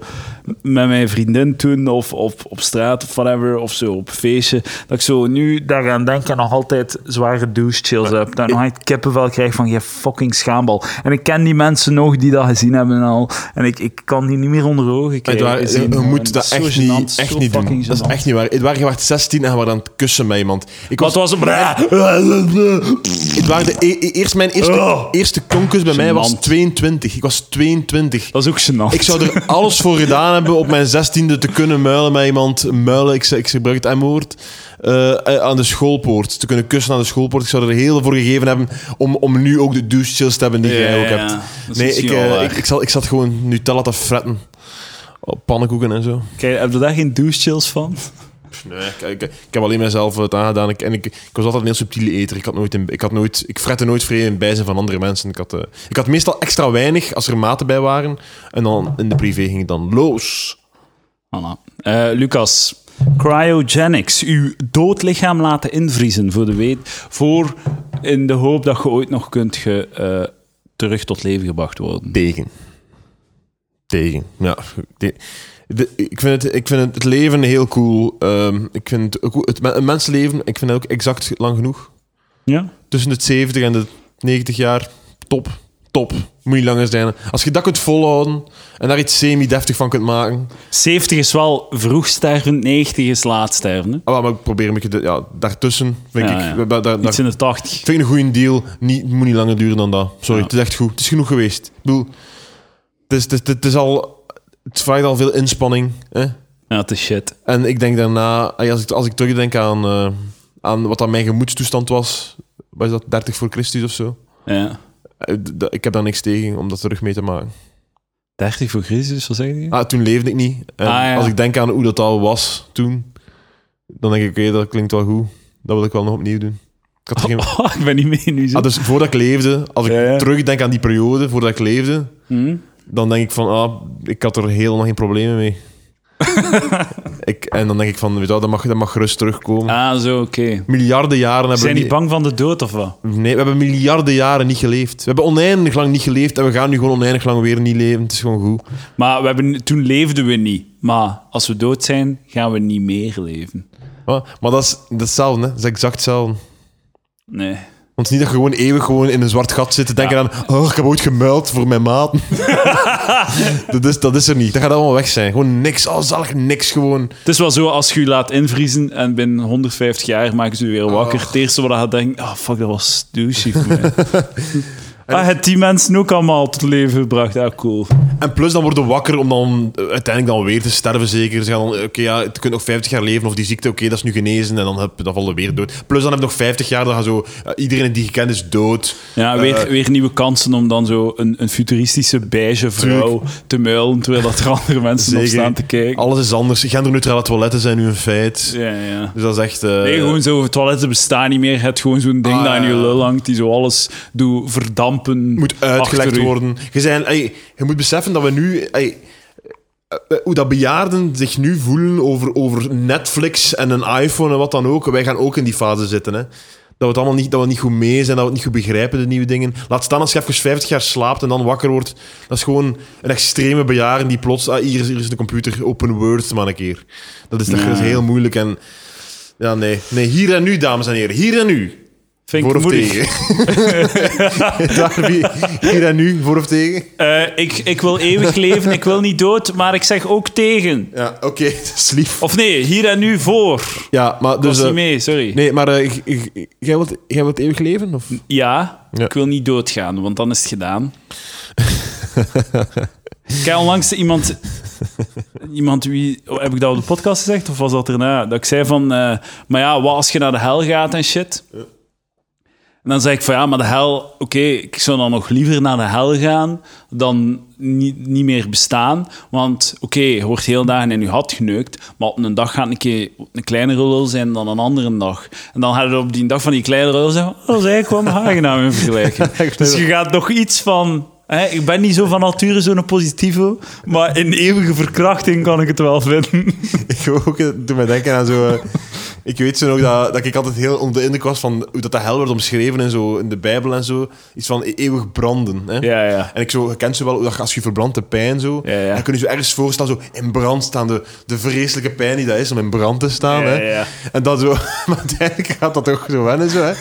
S1: Met mijn vriendin toen, of, of op straat of whatever, of zo op feestje. Dat ik zo nu daaraan denk en nog altijd zware douche chills heb. Dan nog altijd kippenvel krijg van je fucking schaambal. En ik ken die mensen nog die dat gezien hebben al. En ik, ik kan die niet meer onder ogen krijgen.
S2: Edouard, je,
S1: zien, man.
S2: moet dat
S1: Zo gênant,
S2: echt niet,
S1: zo
S2: echt niet doen.
S1: fucking
S2: Dat is
S1: gênant.
S2: echt niet waar. Edouard, je was 16 en je was aan het kussen met iemand. Ik
S1: Wat was het?
S2: Edouard, de, e- e- eerst, mijn eerste,
S1: Oh.
S2: eerste konkus bij mij was
S1: Gênant. Oh.
S2: 22. Ik was 22.
S1: Dat is ook gênant.
S2: Ik zou er alles voor gedaan hebben op mijn zestiende te kunnen muilen met iemand. Muilen, ik, zeg- ik gebruik het M-woord. eh, eh, aan de schoolpoort. Te kunnen kussen aan de schoolpoort. Ik zou er heel voor gegeven hebben om, om nu ook de douche chills te hebben die
S1: Ja,
S2: jij ook
S1: ja,
S2: hebt.
S1: ja. Dat is
S2: Nee, ik,
S1: misschien wel
S2: eh,
S1: waar.
S2: ik, ik, zat, ik zat gewoon Nutella te fretten. Op pannenkoeken en zo.
S1: Kijk, heb je daar geen douche chills van?
S2: Nee, ik, ik, ik heb alleen mezelf eh, het aangedaan. Ik, en ik, ik was altijd een heel subtiele eter. Ik, had nooit in, ik, had nooit, ik frette nooit vreemd in het bijzijn van andere mensen. Ik had, eh, ik had meestal extra weinig als er maten bij waren. En dan in de privé ging ik dan los.
S1: Voilà. Eh, Lucas, cryogenics. Uw doodlichaam laten invriezen voor, de weet, voor in de hoop dat je ooit nog kunt ge, eh, terug tot leven gebracht worden.
S2: Tegen. Tegen. Ja. de- de- ik, vind het, ik vind het, het leven heel cool. Ehm, ik vind het, ook goed- het, me- een mensenleven, ik vind het ook exact lang genoeg.
S1: Ja?
S2: Tussen de 70 en de 90 jaar. Top. Top. Moet je langer zijn. Als je dat kunt volhouden en daar iets semi-deftig van kunt maken.
S1: 70 is wel vroeg sterven, 90 is laat sterven. hè?
S2: Ah, wel, maar ik probeer een beetje de- ja, daartussen. Vind
S1: Ja,
S2: ik.
S1: ja.
S2: da- da- da-
S1: Iets in de 80.
S2: vind ik een goede deal. Niet, het moet niet langer duren dan dat. Sorry,
S1: Ja.
S2: het is echt goed. Het is genoeg geweest. Ik bedoel, het, is, het, is- het is al, het vraagt al veel inspanning. Hè?
S1: Ja, het is shit.
S2: En ik denk daarna, ey, als ik, als ik terugdenk aan eh, aan wat dan mijn gemoedstoestand was. Was dat 30 voor Christus of zo?
S1: Ja.
S2: Eh, d- d- Ik heb daar niks tegen om dat terug mee te maken.
S1: 30 voor Christus, wat zeg je?
S2: Ah, toen leefde ik niet. En
S1: Ah, ja.
S2: Als ik denk aan hoe dat al was toen, dan denk ik, oké, dat klinkt wel goed. Dat wil ik wel nog opnieuw doen. Ik had er geen...
S1: Oh, ik ben niet mee nu. Zo.
S2: ah, dus voordat ik leefde, als ik
S1: Ja, ja.
S2: terugdenk aan die periode, voordat ik leefde,
S1: Hm?
S2: dan denk ik van, ah, ik had er helemaal geen problemen mee. ik, en dan denk ik van, weet je wel, dat mag, dat mag gerust terugkomen.
S1: Ah, zo, oké.
S2: Miljarden jaren hebben
S1: Zijn
S2: we
S1: die bang van de dood of wat?
S2: Nee, we hebben miljarden jaren niet geleefd. We hebben oneindig lang niet geleefd en we gaan nu gewoon oneindig lang weer niet leven. Het is gewoon goed.
S1: Maar we hebben, toen leefden we niet. Maar als we dood zijn, gaan we niet meer leven.
S2: Maar, maar dat, is, dat is hetzelfde, hè. dat is exact hetzelfde.
S1: Nee.
S2: Want het is niet dat je gewoon eeuwig gewoon in een zwart gat zit te denken aan oh, ik heb ooit gemuild voor mijn maten. dat, is, dat is er niet. Dat gaat allemaal weg zijn. Gewoon niks. Al zalig niks gewoon.
S1: Het is wel zo, als je je laat invriezen en binnen 150 jaar maken ze je weer wakker. Het eerste wat je denkt, ah fuck, dat was douchey voor mij. Ah, het die mensen ook allemaal tot leven gebracht. Ah, cool.
S2: En plus dan worden we wakker om dan eh, uiteindelijk dan weer te sterven zeker. Ze gaan dan, oké ja, je kunt nog 50 jaar leven of die ziekte, oké dat is nu genezen en dan, heb, dan vallen we weer dood. Plus dan heb je nog 50 jaar, dan gaan zo, eh, iedereen die je kent is dood.
S1: Ja, weer, weer nieuwe kansen om dan zo een, een futuristische beige vrouw te muilen, terwijl dat er andere mensen op staan te kijken.
S2: Alles is anders. Genderneutrale toiletten zijn nu een feit.
S1: Ja, ja.
S2: Dus dat is echt... eh,
S1: Nee, gewoon zo, toiletten bestaan niet meer. Je hebt gewoon zo'n ding
S2: Ah,
S1: dat in je
S2: ja.
S1: lul hangt, die zo alles doet verdampen.
S2: moet uitgelekt
S1: achter u.
S2: worden. Je, zijn, ey, je moet beseffen dat we nu. ey, eh, eh, hoe dat bejaarden zich nu voelen over, over Netflix en een iPhone en wat dan ook. Wij gaan ook in die fase zitten. Hè. Dat we het allemaal niet, dat we niet goed mee zijn, dat we het niet goed begrijpen, de nieuwe dingen. Laat staan als je even 50 jaar slaapt en dan wakker wordt. Dat is gewoon een extreme bejaarden die plots... Ah, hier, is, hier is de computer, open Word maar een keer. Dat is, dat
S1: Ja.
S2: is heel moeilijk en... Ja, nee. Nee, hier en nu, dames en heren. Hier en nu.
S1: Vind ik
S2: Voor of
S1: moedig.
S2: tegen? Daarby, hier en nu, voor of tegen?
S1: Eh, ik, ik wil eeuwig leven, ik wil niet dood, maar ik zeg ook tegen.
S2: Ja, oké, dat is lief.
S1: Of nee, hier en nu voor.
S2: Ja, maar
S1: Dus,
S2: dus...
S1: was
S2: eh,
S1: niet mee, sorry.
S2: nee, maar eh, ik- ik- ik- jij, wilt, jij wilt eeuwig leven? Of?
S1: Ja,
S2: Ja.
S1: ik wil niet doodgaan, want dan is het gedaan. ik heb onlangs iemand... Iemand wie... oh, Heb ik dat op de podcast gezegd? Of was dat erna? Dat ik zei van... eh, maar ja, wat als je naar de hel gaat en shit? En dan zei ik van ja, maar de hel... Oké, ik zou dan nog liever naar de hel gaan dan niet, niet meer bestaan. Want oké, je wordt heel dagen in je hat geneukt. Maar op een dag gaat een keer een kleinere lul zijn dan een andere dag. En dan gaat het op die dag van die kleinere lul zeggen... oh, Dat is eigenlijk wel een aangenaam in vergelijking. dus je gaat nog iets van... Hè, ik ben niet zo van nature zo'n positieve, maar in eeuwige verkrachting kan ik het wel vinden.
S2: Ik wil ook eh, doe mij denken aan zo... eh, ik weet zo nog dat, dat ik altijd heel onder de indruk was van hoe dat de hel wordt omschreven en zo, in de Bijbel en zo. Iets van e- eeuwig branden. Hè?
S1: Ja, ja.
S2: En ik zo, je kent ze wel, hoe dat als je verbrandt, de pijn zo.
S1: Ja, ja.
S2: Dan kun je zo ergens voor staan, zo in brand staan. De, de vreselijke pijn die dat is om in brand te staan.
S1: Ja,
S2: hè.
S1: ja.
S2: En dan zo, maar uiteindelijk gaat dat toch zo wennen. Zo, hè.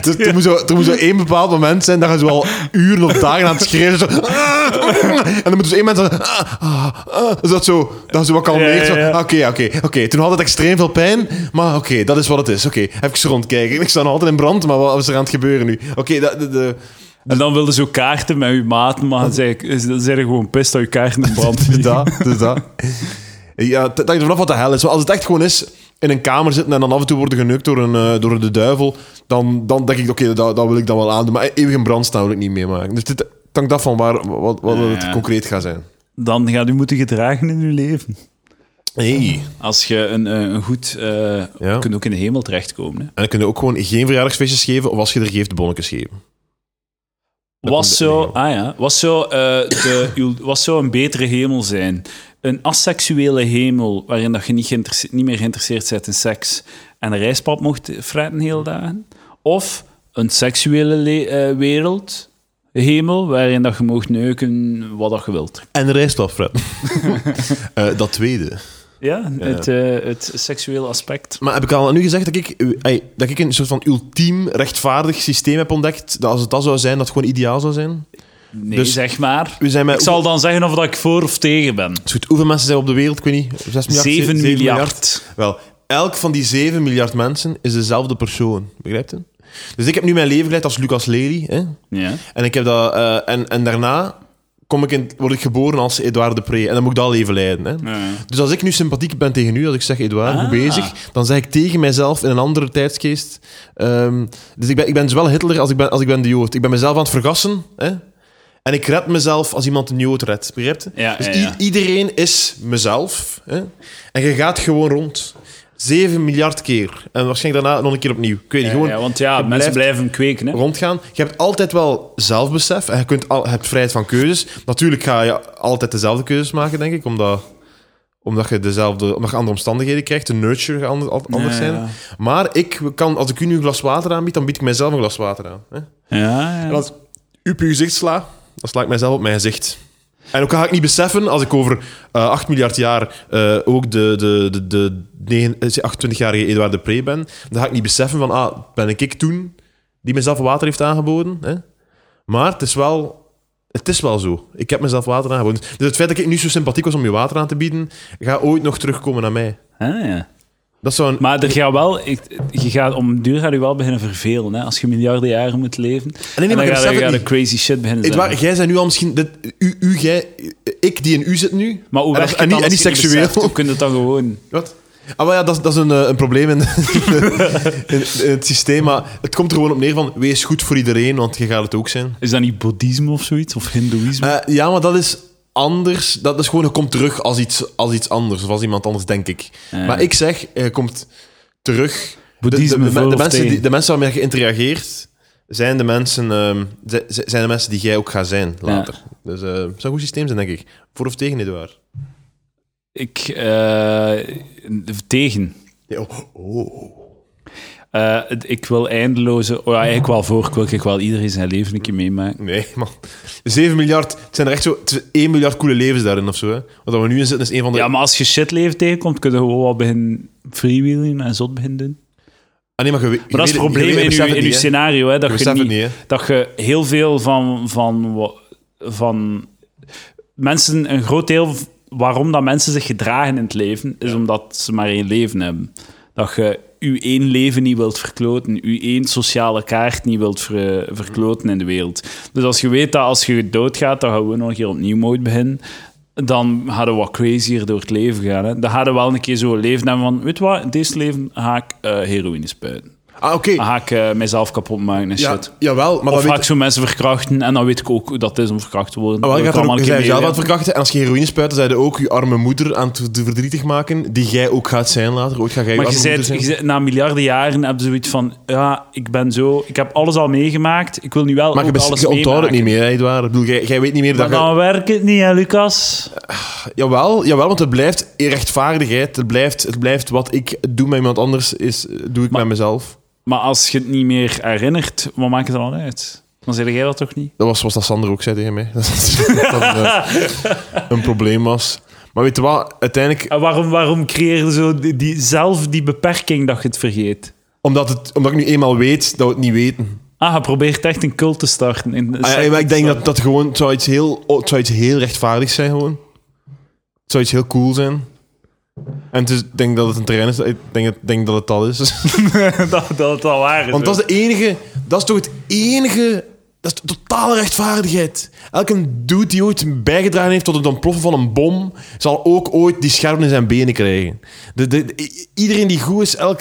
S2: dus dus er, moet zo, er moet zo één bepaald moment zijn dat je zo al uren of dagen aan het schreeuwen zo, En dan moet dus één moment zo... ah, ah, ah, dus dat zo, dat zo wat
S1: Ja,
S2: kalmeert.
S1: ja,
S2: zo,
S1: ja.
S2: ah, Oké, oké, oké. Toen had het extreem veel pijn, maar oké, dat is wat het is. Oké, even rondkijken. Ik sta nog altijd in brand, maar wat is er aan het gebeuren nu? Oké, dat... De, de,
S1: En dan wilden ze ook kaarten met uw maten, maar dan zei ik- is- dan zijn er gewoon pist dat je kaarten in brand
S2: Dus
S1: vliegen.
S2: dat, dus dat. Ja, dat hangt er vanaf wat de hel is. Maar als het echt gewoon is in een kamer zitten en dan af en toe worden geneukt door, een, eh, door de duivel, dan, dan denk ik, oké, dat, dat wil ik dan wel aandoen. Maar eeuwig in brand staan wil ik niet meemaken. Dus dit het hangt af van waar, wat, wat het
S1: Ja.
S2: concreet gaat zijn.
S1: Dan gaat u moeten gedragen in uw leven.
S2: Hey.
S1: Als je een, eh, een goed... eh Je kunt ook in de hemel terechtkomen. Hè.
S2: En dan kunnen we ook gewoon geen verjaardagsfeestjes geven, of als je er geeft, bonnetjes geven.
S1: Was
S2: komt
S1: zo,
S2: in de
S1: ah ja, was zo, eh, de, uw- was zo een betere hemel zijn. Een asseksuele hemel waarin dat je niet, geïnteresse- niet meer geïnteresseerd bent in seks en een rijstpap mocht fretten heel dagen. Of een seksuele le- eh, wereld, hemel, waarin dat je mocht neuken wat dat je wilt.
S2: En rijstwaf, Fred. Eh, dat tweede.
S1: Ja, Het, eh, het seksuele aspect.
S2: Maar heb ik al nu gezegd dat ik, eh, ey, dat ik een soort van ultiem rechtvaardig systeem heb ontdekt? Dat als het dat zou zijn, dat het gewoon ideaal zou zijn?
S1: Nee,
S2: Dus-
S1: zeg maar.
S2: We zijn met
S1: Ik zal dan zeggen of dat ik voor of tegen ben.
S2: Het is goed, hoeveel mensen zijn er op de wereld? Ik weet niet. 6 miljard?
S1: 7,
S2: zeven- zeven
S1: miljard.
S2: Wel, elk van die 7 miljard mensen is dezelfde persoon. Begrijpt u? Dus ik heb nu mijn leven geleid als Lucas Lely. Hè?
S1: Ja.
S2: En, ik heb dat, eh, en, en daarna kom ik in, word ik geboren als Edouard de Pre. En dan moet ik dat leven leiden. Hè?
S1: Ja.
S2: Dus als ik nu sympathiek ben tegen u, als ik zeg Edouard,
S1: Ah.
S2: goed bezig, dan zeg ik tegen mijzelf in een andere tijdsgeest. ehm, dus ik ben, ik ben zowel Hitler als ik ben, als ik ben de Jood. Ik ben mezelf aan het vergassen. Hè? En ik red mezelf als iemand een Jood redt. Begrijpt je?
S1: Ja,
S2: dus
S1: ja,
S2: i-
S1: ja.
S2: iedereen is mezelf. Hè? En je gaat gewoon rond. 7 miljard keer. En waarschijnlijk daarna nog een keer opnieuw. Ik weet
S1: Ja,
S2: niet, gewoon
S1: ja, want ja,
S2: je
S1: mensen
S2: blijft-
S1: blijven hem kweken. Hè.
S2: rondgaan. Je hebt altijd wel zelfbesef en je, kunt al, je hebt vrijheid van keuzes. Natuurlijk ga je altijd dezelfde keuzes maken, denk ik, omdat, omdat, je, dezelfde, omdat je andere omstandigheden krijgt. De nurture gaat ander- al- anders
S1: Ja,
S2: zijn.
S1: ja.
S2: Maar ik kan, als ik u nu een glas water aanbied, dan bied ik mijzelf een glas water aan. Hè?
S1: Ja,
S2: En
S1: ja.
S2: als u op uw gezicht sla, dan sla ik mijzelf op mijn gezicht. En ook ga ik niet beseffen, als ik over eh 8 miljard jaar eh, ook de, de, de, de, negen- eh, 28-jarige Eduard de Pre ben, dan ga ik niet beseffen van, ah, ben ik ik toen die mezelf water heeft aangeboden? Hè? Maar het is wel... Het is wel zo. Ik heb mezelf water aangeboden. Dus het feit dat ik nu zo sympathiek was om je water aan te bieden, gaat ooit nog terugkomen naar mij.
S1: Ah, ja.
S2: Dat zou een...
S1: Maar er gaat wel, ik- je gaat, om duur gaat je wel beginnen vervelen. Hè? Als je miljarden jaren moet leven.
S2: Ah, nee,
S1: en
S2: maar
S1: dan
S2: ik
S1: ga
S2: besef
S1: je,
S2: het
S1: ga je
S2: niet.
S1: crazy shit beginnen
S2: Edouard,
S1: zeggen.
S2: jij bent nu al misschien... Dit, u, u, jij, ik die in u zit nu...
S1: Maar hoe
S2: en,
S1: werkt
S2: dat- en,
S1: het
S2: niet, en
S1: dan als
S2: niet
S1: je het
S2: seksueel.
S1: beseft? Hoe kun je het dan gewoon...
S2: Wat? Ah, maar ja, dat, is- dat is een, eh, een probleem in, in, in het systeem. Maar het komt er gewoon op neer van wees goed voor iedereen, want je gaat het ook zijn.
S1: Is dat niet boeddhisme of zoiets? Of hindoeïsme?
S2: Eh, ja, maar dat is anders. Dat is gewoon, je komt terug als iets, als iets anders, of als iemand anders, denk ik.
S1: Ja.
S2: Maar ik zeg, eh, je komt terug. De- De,
S1: Boeddhisme
S2: de-
S1: voor
S2: de
S1: of
S2: mensen
S1: tegen?
S2: die, de mensen waarmee je interageert, zijn de mensen, ehm, zi- zi- zijn de mensen die jij ook gaat zijn later. Dus eh, het zou een goed systeem zijn, denk ik. Voor of tegen, Edouard?
S1: Ik... eh, tegen.
S2: Ja, oh, oh.
S1: Eh, het- ik wil eindeloze... Oh ja, eigenlijk wel voor. Ik wil ik wil iedereen zijn leven een keer meemaken.
S2: Nee, man. 7 miljard. Het zijn er echt zo tw- 1 miljard coole levens daarin of zo. Hè? Wat we nu in zitten is een van de.
S1: Ja, maar als je shitleven tegenkomt, kun je gewoon wel beginnen freewheelen en zot beginnen doen.
S2: Ah, nee, maar ge-
S1: Maar dat is het probleem in, uw- in uw scenario, hè, dat, je
S2: Je beseft het
S1: niet,
S2: niet, hè.
S1: dat je heel veel van, van, wa- van mensen, een groot deel v- waarom dat mensen zich gedragen in het leven, is omdat ze maar één leven hebben. Dat je uw één leven niet wilt verkloten, uw één sociale kaart niet wilt ver- verkloten in de wereld. Dus als je weet dat als je doodgaat, dan gaan we nog een keer opnieuw moet beginnen, dan gaan we wat crazier door het leven gaan. Hè. Dan gaan we wel een keer zo'n leven hebben van, weet je wat, in deze leven ga ik eh, heroïne spuiten.
S2: Ah, oké.
S1: Dan ga ik eh, mezelf kapot maken en
S2: Ja,
S1: shit.
S2: jawel, maar
S1: Of
S2: dan
S1: ga
S2: weet
S1: ik zo mensen verkrachten en dan weet ik ook hoe dat is om verkracht te worden.
S2: Ah, wel,
S1: Dat
S2: je gaat
S1: ik
S2: er ook,
S1: allemaal
S2: je
S1: een
S2: bent
S1: keer
S2: jezelf aan het
S1: meeleven.
S2: verkrachten. En als je heroïne spuit, dan zijn je ook je arme moeder aan het ver- verdrietig maken. Die jij ook gaat zijn later. Ooit ga jij je
S1: Maar
S2: arme
S1: je
S2: moeder
S1: zei,
S2: zijn.
S1: je zei- na miljarden jaren heb je zoiets van... Ja, ik ben zo... Ik heb alles al meegemaakt. Ik wil nu wel
S2: maar je,
S1: ook
S2: bes-
S1: alles
S2: je onthoudt het
S1: meemaken.
S2: niet meer, hè, Edouard. Ik bedoel, jij, jij weet niet meer
S1: Maar
S2: dat je...
S1: dan werkt het niet, hè, Lucas?
S2: Jawel, jawel, want het blijft rechtvaardigheid. Het blijft, het blijft wat ik doe met iemand anders, is, doe ik
S1: Maar-
S2: met mezelf.
S1: Maar als je het niet meer herinnert, wat maakt het dan uit? Dan zeg jij dat toch niet?
S2: Dat was zoals dat Sander ook zei tegen mij. Dat dat eh, een probleem was. Maar weet je wat, uiteindelijk,
S1: En waarom, waarom creëer je zo die, die- zelf die beperking dat je het vergeet?
S2: omdat, het, omdat ik nu eenmaal weet dat we het niet weten.
S1: Ah, je probeert echt een cult te starten. Een
S2: Ah, ja,
S1: sect
S2: maar
S1: te
S2: ik denk
S1: starten.
S2: dat dat gewoon, het zou iets heel, oh, het zou iets heel rechtvaardigs zijn gewoon. Het zou iets heel cool zijn. En het is- ik denk dat het een terrein is, ik denk, dat- ik denk dat het al is.
S1: dat, dat het al waar is.
S2: Want dat is de enige, dat is toch het enige, dat is de totale rechtvaardigheid. Elke dude die ooit bijgedragen heeft tot het ontploffen van een bom, zal ook ooit die scherven in zijn benen krijgen. De, de, de- i- iedereen die goed is, elk,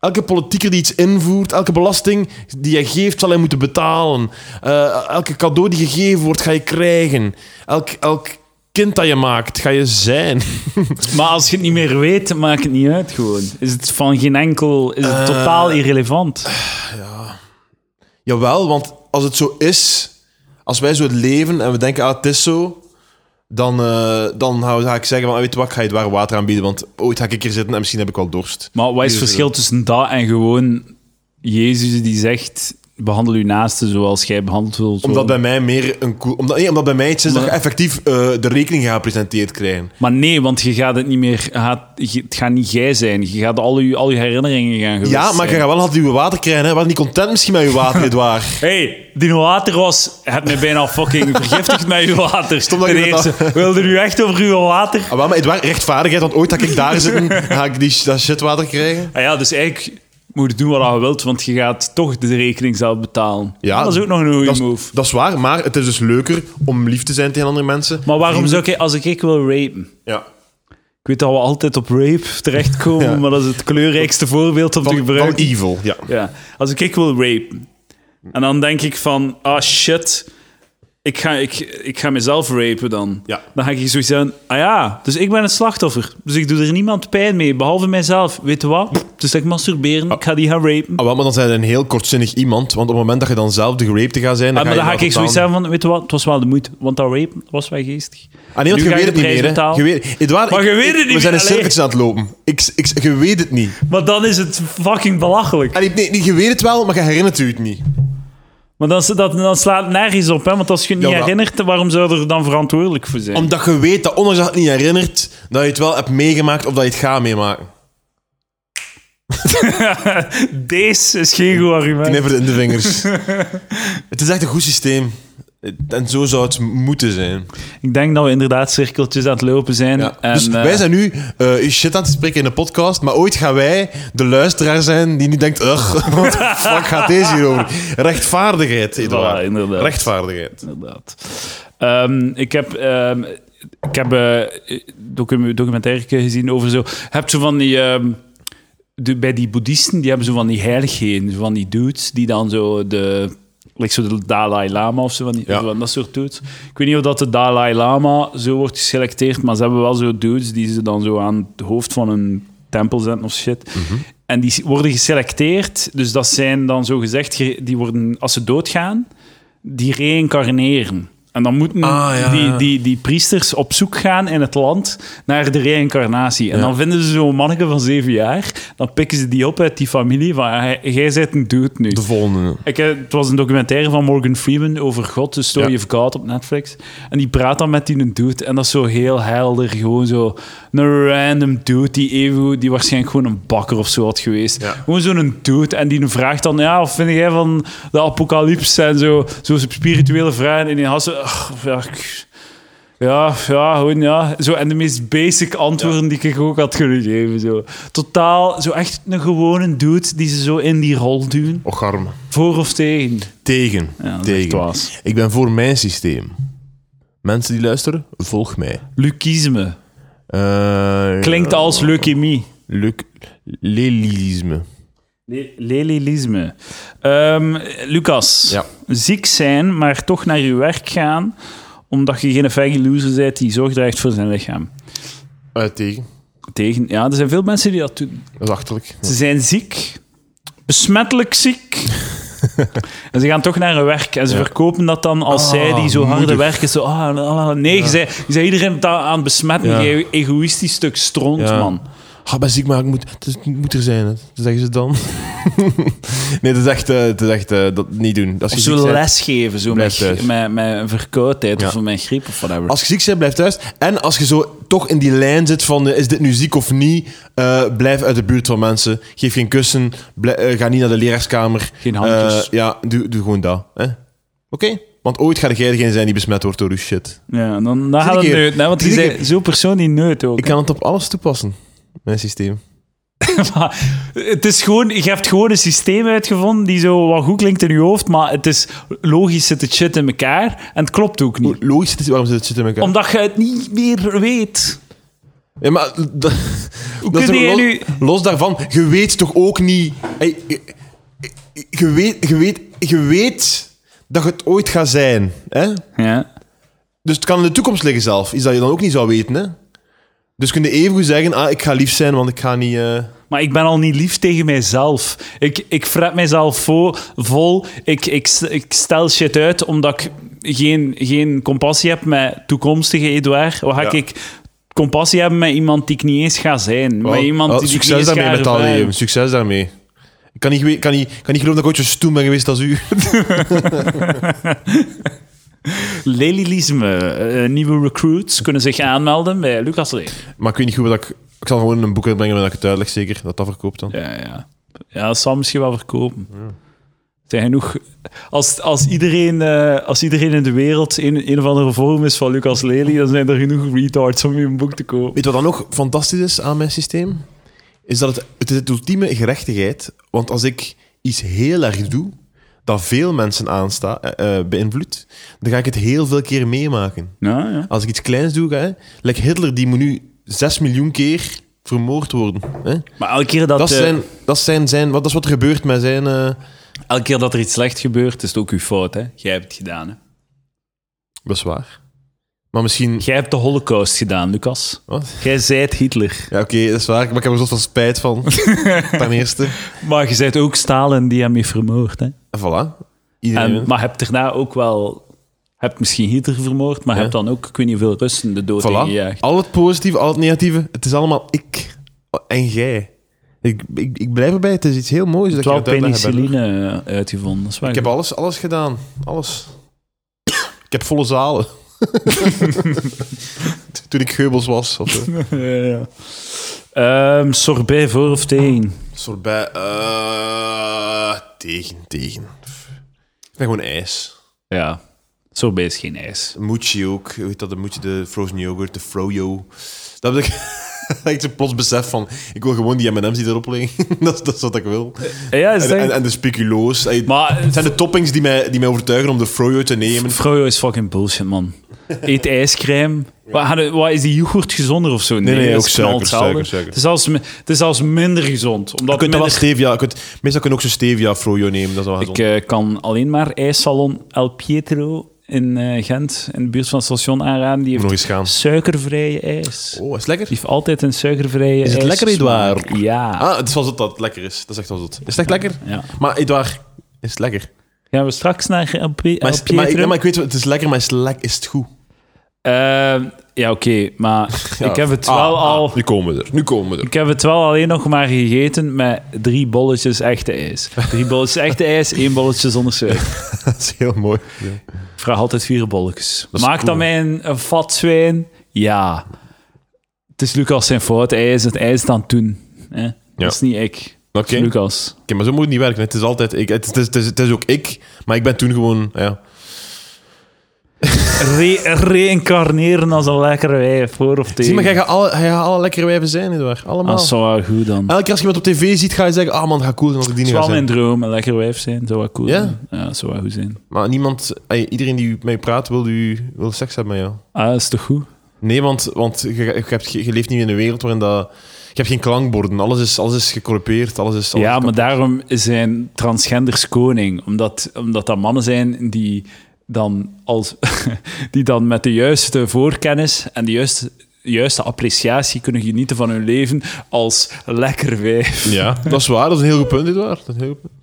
S2: elke politieker die iets invoert, elke belasting die je geeft, zal hij moeten betalen. Eh, elke cadeau die gegeven wordt, ga je krijgen. Elk, elk kind dat je maakt, ga je zijn.
S1: Maar als je het niet meer weet, maakt het niet uit gewoon. Is het van geen enkel... Is
S2: Eh,
S1: het totaal irrelevant?
S2: Jawel, want als het zo is, als wij zo het leven en we denken, ah, het is zo, dan, eh, dan ga ga ik zeggen, van, ah, weet je wat, ik ga je het ware water aanbieden, want ooit ga ik hier zitten en misschien heb ik wel dorst.
S1: Maar wat is het
S2: Hier is
S1: verschil tussen dat en gewoon... Jezus die zegt... Behandel uw naasten zoals jij behandeld wilt worden.
S2: Omdat bij mij meer een cool... Omdat, nee, omdat bij mij iets is dat je effectief eh, de rekening gaat gepresenteerd krijgen.
S1: Maar nee, want je gaat het niet meer... Gaat, je- het gaat niet jij zijn. Je gaat al je, al je herinneringen gaan geweest
S2: Ja, maar je
S1: zijn.
S2: gaat wel altijd uw water krijgen, hè. Waar niet content misschien met uw water, Edouard.
S1: hey, Dino Water was... Heb mij bijna fucking vergiftigd met uw water. Stop
S2: dat
S1: Ten
S2: je dat-
S1: eerste, wilde u echt over uw water
S2: Ah, wel, maar Edouard, rechtvaardigheid, want ooit ga ik daar zitten, ga ik die, dat shitwater krijgen.
S1: Ah ja, dus eigenlijk moet je doen wat je wilt, want je gaat toch de rekening zelf betalen.
S2: Ja,
S1: dat is ook nog een goede
S2: dat is,
S1: move.
S2: Dat is waar, maar het is dus leuker om lief te zijn tegen andere mensen.
S1: Maar waarom zou ik, als ik, ik wil rapen...
S2: Ja.
S1: Ik weet dat we altijd op rape terechtkomen,
S2: Ja.
S1: maar dat is het kleurrijkste voorbeeld om te
S2: Van, van
S1: gebruiken.
S2: evil, ja.
S1: Ja, als ik, ik wil rapen. En dan denk ik van, ah shit, ik ga, ik, ik ga mezelf rapen dan.
S2: Ja.
S1: Dan ga ik zoiets zeggen, ah ja, dus ik ben een slachtoffer. Dus ik doe er niemand pijn mee, behalve mijzelf. Weet je wat? Dus ik masturberen, ik ga die gaan rapen.
S2: Ah, wel, maar dan zijn we een heel kortzinnig iemand, want op het moment dat je dan zelf de gerapte gaat zijn... Dan
S1: Ah, maar dan
S2: je
S1: ga ik
S2: inderdaad
S1: zoiets
S2: totaal-
S1: zeggen van, weet je wat, het was wel de moeite. Want dat rapen was wel geestig.
S2: Ah nee, want
S1: Nu
S2: je
S1: ga je
S2: weet het
S1: de
S2: niet meer.
S1: prijs
S2: hè. Je
S1: betalen.
S2: weet, Edouard,
S1: Maar
S2: ik-
S1: je
S2: ik-
S1: weet het
S2: We
S1: niet
S2: zijn een
S1: meer, allee.
S2: circus aan het lopen. Ik, ik, je weet het niet.
S1: Maar dan is het fucking belachelijk.
S2: Allee, nee, nee, je weet het wel, maar je herinnert u het niet.
S1: Maar dan, dat, dan slaat het nergens op, hè? want als je het niet
S2: Jawel.
S1: herinnert, waarom zou je er dan verantwoordelijk voor zijn?
S2: Omdat je weet dat, ondanks dat je het niet herinnert, dat je het wel hebt meegemaakt of dat je het gaat meemaken.
S1: Deze is geen goed argument.
S2: Knippert in de vingers. het is echt een goed systeem. En zo zou het moeten zijn.
S1: Ik denk dat we inderdaad cirkeltjes aan het lopen zijn.
S2: Ja.
S1: En,
S2: dus
S1: eh,
S2: wij zijn nu eh, shit aan het spreken in de podcast, maar ooit gaan wij de luisteraar zijn die niet denkt, ugh, wat de fuck gaat deze hier over? Rechtvaardigheid, Eduard.
S1: Voilà, inderdaad.
S2: Rechtvaardigheid.
S1: Inderdaad. Ehm, ik heb, ehm, ik heb eh, docu- documentaire gezien over zo... Je hebt zo van die... ehm, de, bij die boeddhisten, die hebben zo van die heiligheden, zo van die dudes, die dan zo de... Like zo de Dalai Lama of zo van, die,
S2: Ja.
S1: zo van dat soort dudes. Ik weet niet of dat de Dalai Lama zo wordt geselecteerd, maar ze hebben wel zo dudes die ze dan zo aan het hoofd van een tempel zetten of shit.
S2: Mhm.
S1: En die worden geselecteerd, dus dat zijn dan zo gezegd, ge- die worden, als ze doodgaan, die reïncarneren. En dan moeten
S2: Ah, ja,
S1: die,
S2: ja.
S1: die, die priesters op zoek gaan in het land naar de reïncarnatie. En dan vinden ze zo'n manneke van zeven jaar. Dan pikken ze die op uit die familie van, "Ah, jij bent een dude nu.
S2: De volgende.
S1: Ik, eh, het was een documentaire van Morgan Freeman over God, The Story
S2: Ja.
S1: of God op Netflix. En die praat dan met die een dude en dat is zo heel helder. Gewoon zo een random dude die even, goed- die waarschijnlijk gewoon een bakker of zo had geweest.
S2: Ja.
S1: Gewoon zo'n dude en die vraagt dan, ja, wat vind jij van de apocalypse en zo, zo spirituele vragen. En die had zo, "Ach, ja, ik- ja, ja, gewoon ja. Zo, en de meest basic antwoorden die ik ook had kunnen geven. Zo. Totaal, zo echt een gewone dude die ze zo in die rol duwen.
S2: Och, arme.
S1: Voor of tegen?
S2: Tegen.
S1: Ja, dat is echt
S2: Tegen.
S1: dwaas.
S2: Ik ben voor mijn systeem. Mensen die luisteren, volg mij.
S1: Lukisme.
S2: Eh,
S1: Klinkt als leukemie.
S2: Luk... Lelilisme.
S1: Lelilisme. Ehm, Lucas,
S2: Ja.
S1: ziek zijn, maar toch naar je werk gaan, omdat je geen faggy loser bent die zorg draagt voor zijn lichaam.
S2: Eh, tegen.
S1: Tegen, ja, er zijn veel mensen die dat doen.
S2: Dat is achterlijk.
S1: Ze zijn ziek, besmettelijk ziek. en ze gaan toch naar hun werk. En ze
S2: Ja.
S1: verkopen dat dan als
S2: Ah,
S1: zij die zo harde
S2: moedig.
S1: werken. Zo, ah, ah, ah. nee, je zei, je zei iedereen ta- aan het besmetten.
S2: Ja.
S1: Je egoïstisch stuk stront,
S2: Ja.
S1: man.
S2: Ah, ben ziek, maar ik moet, het is- het moet er zijn. Hè. Dat zeggen ze dan. nee, dat is echt, eh, dat, is echt eh, dat niet doen. Als je,
S1: Of
S2: ziek
S1: zo
S2: bent-
S1: lesgeven, zo
S2: Blijf
S1: met,
S2: thuis.
S1: met, met een verkoudheid
S2: Ja.
S1: of met griep of whatever.
S2: als je ziek bent, blijf thuis. En als je zo toch in die lijn zit van eh, is dit nu ziek of niet, eh, blijf uit de buurt van mensen. Geef geen kussen. blij- eh, ga niet naar de leraarskamer.
S1: Geen handjes.
S2: Eh, ja, doe, doe gewoon dat. hè. Oké? Want ooit ga jij degene zijn die besmet wordt door uw shit.
S1: ja, dan, dan gaat
S2: ik
S1: het
S2: hier?
S1: neut, hè, want die
S2: Zit ik
S1: zijn zo'n persoon die neut ook.
S2: Ik kan het op alles toepassen. Mijn systeem.
S1: het is gewoon, je hebt gewoon een systeem uitgevonden die zo wat goed klinkt in je hoofd, maar het is logisch zit het shit in elkaar en het klopt ook niet.
S2: Hoe Logisch, het is- waarom zit het shit in elkaar?
S1: Omdat je het niet meer weet.
S2: Ja, maar dat, dat is
S1: kun
S2: ook
S1: jij
S2: los,
S1: nu-
S2: los daarvan, je weet toch ook niet. Hey, je, je weet, je, weet, je weet dat je het ooit gaat zijn. Hè?
S1: Ja.
S2: Dus het kan in de toekomst liggen zelf. Iets dat je dan ook niet zou weten. Hè? Dus kun je even goed zeggen: ah, ik ga lief zijn, want ik ga niet. eh,
S1: Maar ik ben al niet lief tegen mijzelf. Ik, ik fret mijzelf vo- vol. Ik, ik, ik stel shit uit omdat ik geen, geen compassie heb met toekomstige Edouard. Wat ga
S2: Ja.
S1: ik compassie hebben met iemand die ik niet eens ga zijn? met
S2: wel,
S1: iemand
S2: wel,
S1: die ik niet
S2: succes
S1: eens
S2: daarmee
S1: ga
S2: met al
S1: ervaren.
S2: die Succes daarmee. Ik kan niet, gewe- kan, niet, kan niet geloven dat ik ooit zo stoem ben geweest als u.
S1: Lelilisme. Eh, nieuwe recruits kunnen zich aanmelden bij Lucas Leer.
S2: Maar ik weet niet goed wat ik. Ik zal gewoon een boek uitbrengen waar ik het uitleg zeker dat dat verkoopt dan.
S1: Ja, ja. ja, dat zal misschien wel verkopen. Zijn genoeg. Als, als, iedereen, eh, als iedereen in de wereld een, een of andere vorm is van Lucas Lely, dan zijn er genoeg retards om je een boek te kopen.
S2: Weet je wat dan nog fantastisch is aan mijn systeem? is dat het, het is het ultieme gerechtigheid. Want als ik iets heel erg doe, dat veel mensen aansta, eh, eh, beïnvloedt, dan ga ik het heel veel keer meemaken.
S1: Ja, ja.
S2: Als ik iets kleins doe, hè, like Hitler, die moet nu 6 miljoen keer vermoord worden. Hè?
S1: Maar elke keer dat,
S2: Dat, is
S1: eh,
S2: zijn, dat, is zijn, zijn, wat, dat is wat er gebeurt met zijn... eh,
S1: elke keer dat er iets slecht gebeurt, is het ook uw fout. Hè? Jij hebt het gedaan. Hè?
S2: dat is waar. Maar misschien...
S1: Jij hebt de holocaust gedaan, Lucas.
S2: Wat?
S1: Jij zijt Hitler.
S2: Ja, oké, dat is waar. Maar ik heb er zoveel van spijt van. Ten eerste.
S1: Maar je zijt ook Stalin die hem heeft vermoord. Hè?
S2: En voilà. Iedereen...
S1: En, maar hebt daarna ook wel... Hebt misschien Hitler vermoord, maar hebt dan ook, ik weet niet hoeveel Russen de dood
S2: Voilà.
S1: ingejaagd.
S2: Al het positieve, al het negatieve. Het is allemaal ik en jij. Ik, ik, ik blijf erbij. Het is iets heel moois. Dus Dat
S1: Terwijl
S2: ik, je dat uitleggen ben.
S1: penicilline eh, uitgevonden. Dat is waar.
S2: ik heb alles, alles gedaan. Alles. ik heb volle zalen. Toen ik Geubels was. Of, eh.
S1: ja, ja. Ehm, sorbet voor of tegen?
S2: Sorbet. eh, tegen, tegen. Ik ben gewoon ijs.
S1: Ja, sorbet is geen ijs.
S2: Mochi ook. Hoe heet dat? De mochi, de frozen yoghurt, de froyo. Dat heb ik... dat ik zo plots besef van, ik wil gewoon die M&M's die erop liggen. dat, is- dat is wat ik wil.
S1: Eh, Ja, is het
S2: En, en,
S1: echt-
S2: en de speculoos. Ey,
S1: Maar eh,
S2: het zijn de toppings die mij, die mij overtuigen om de froyo te nemen.
S1: Froyo is fucking bullshit, man. Eet ijscrème. Wat, hadden- wat, is die yoghurt gezonder of zo?
S2: nee,
S1: dat
S2: ook
S1: is knal
S2: suiker,
S1: hetzelfde.
S2: suiker, suiker.
S1: Het, is zelfs, mi- het is zelfs minder gezond. Omdat
S2: Je kunt dan wel
S1: minder-
S2: stevia... je Kunt, meestal kun je ook zo'n stevia froyo nemen. Dat is wel
S1: ik
S2: gezond.
S1: eh, kan alleen maar ijssalon El Pietro in eh, Gent, in de buurt van het station, aanraden. Die
S2: Nog
S1: heeft
S2: eens gaan.
S1: suikervrije ijs.
S2: Oh, is het lekker?
S1: Die heeft altijd een suikervrije
S2: Is het
S1: ijs-
S2: lekker, Edouard?
S1: Ja.
S2: Ah, het is wel zot dat het lekker is. Dat is echt wel zot. Is het echt lekker?
S1: ja.
S2: Maar Edouard, is het lekker?
S1: Gaan we straks naar El, Pi-
S2: Maar,
S1: El
S2: is- maar, ik,
S1: Pietro?
S2: ja, maar ik weet, wel, het is lekker, maar is het, lek- is het goed?
S1: Eh, ja, oké. maar
S2: Ja.
S1: ik heb het
S2: Ah,
S1: wel
S2: ah,
S1: al...
S2: Nu komen we er. Nu komen we er.
S1: Ik heb het wel alleen nog maar gegeten met drie bolletjes echte ijs. Drie bolletjes echte ijs, één bolletje zonder suiker.
S2: dat is heel mooi.
S1: Ik vraag altijd vier bolletjes.
S2: is
S1: Maakt
S2: cool.
S1: dat mij een, een vat zwijn? Ja. Het is Lucas zijn fout. Hij is het ijs dan toen. hè. Dat is niet ik. Dat
S2: Oké.
S1: is Lucas.
S2: Oké, maar zo moet het niet werken. Het is altijd ik. Het, is- het, is, het is ook ik, maar ik ben toen gewoon. Ja.
S1: Re- reïncarneren als een lekkere wijf, voor of tegen.
S2: Zie, maar jij gaat alle, jij gaat alle lekkere wijven zijn, Edouard. Allemaal.
S1: Dat is Ah, wel goed dan.
S2: Elke keer als je iemand op tv ziet, ga je zeggen: Ah man, dat gaat cool zijn als ik die
S1: Het
S2: niet
S1: is
S2: ga
S1: wel mijn
S2: Ah, zijn.
S1: droom, een lekker wijf zijn. Zou wel cool
S2: Ja?
S1: zijn. Ja, zou wel goed zijn.
S2: Maar niemand, ey, iedereen die met je praat, wil, u, wil seks hebben met jou.
S1: Ah, dat is toch goed?
S2: Nee, want, want je, je, hebt, je leeft niet in een wereld waarin dat. Je hebt geen klankborden. Alles is, alles is gecorrupeerd. Alles is. alles
S1: Ja,
S2: kan-
S1: maar daarom zijn transgenders koning. Omdat, omdat dat mannen zijn die dan, als, die dan met de juiste voorkennis en de juiste, juiste appreciatie kunnen genieten van hun leven als lekker wijf.
S2: Ja, dat is waar. Dat is een heel goed punt, Edouard. Dat is een heel goed punt.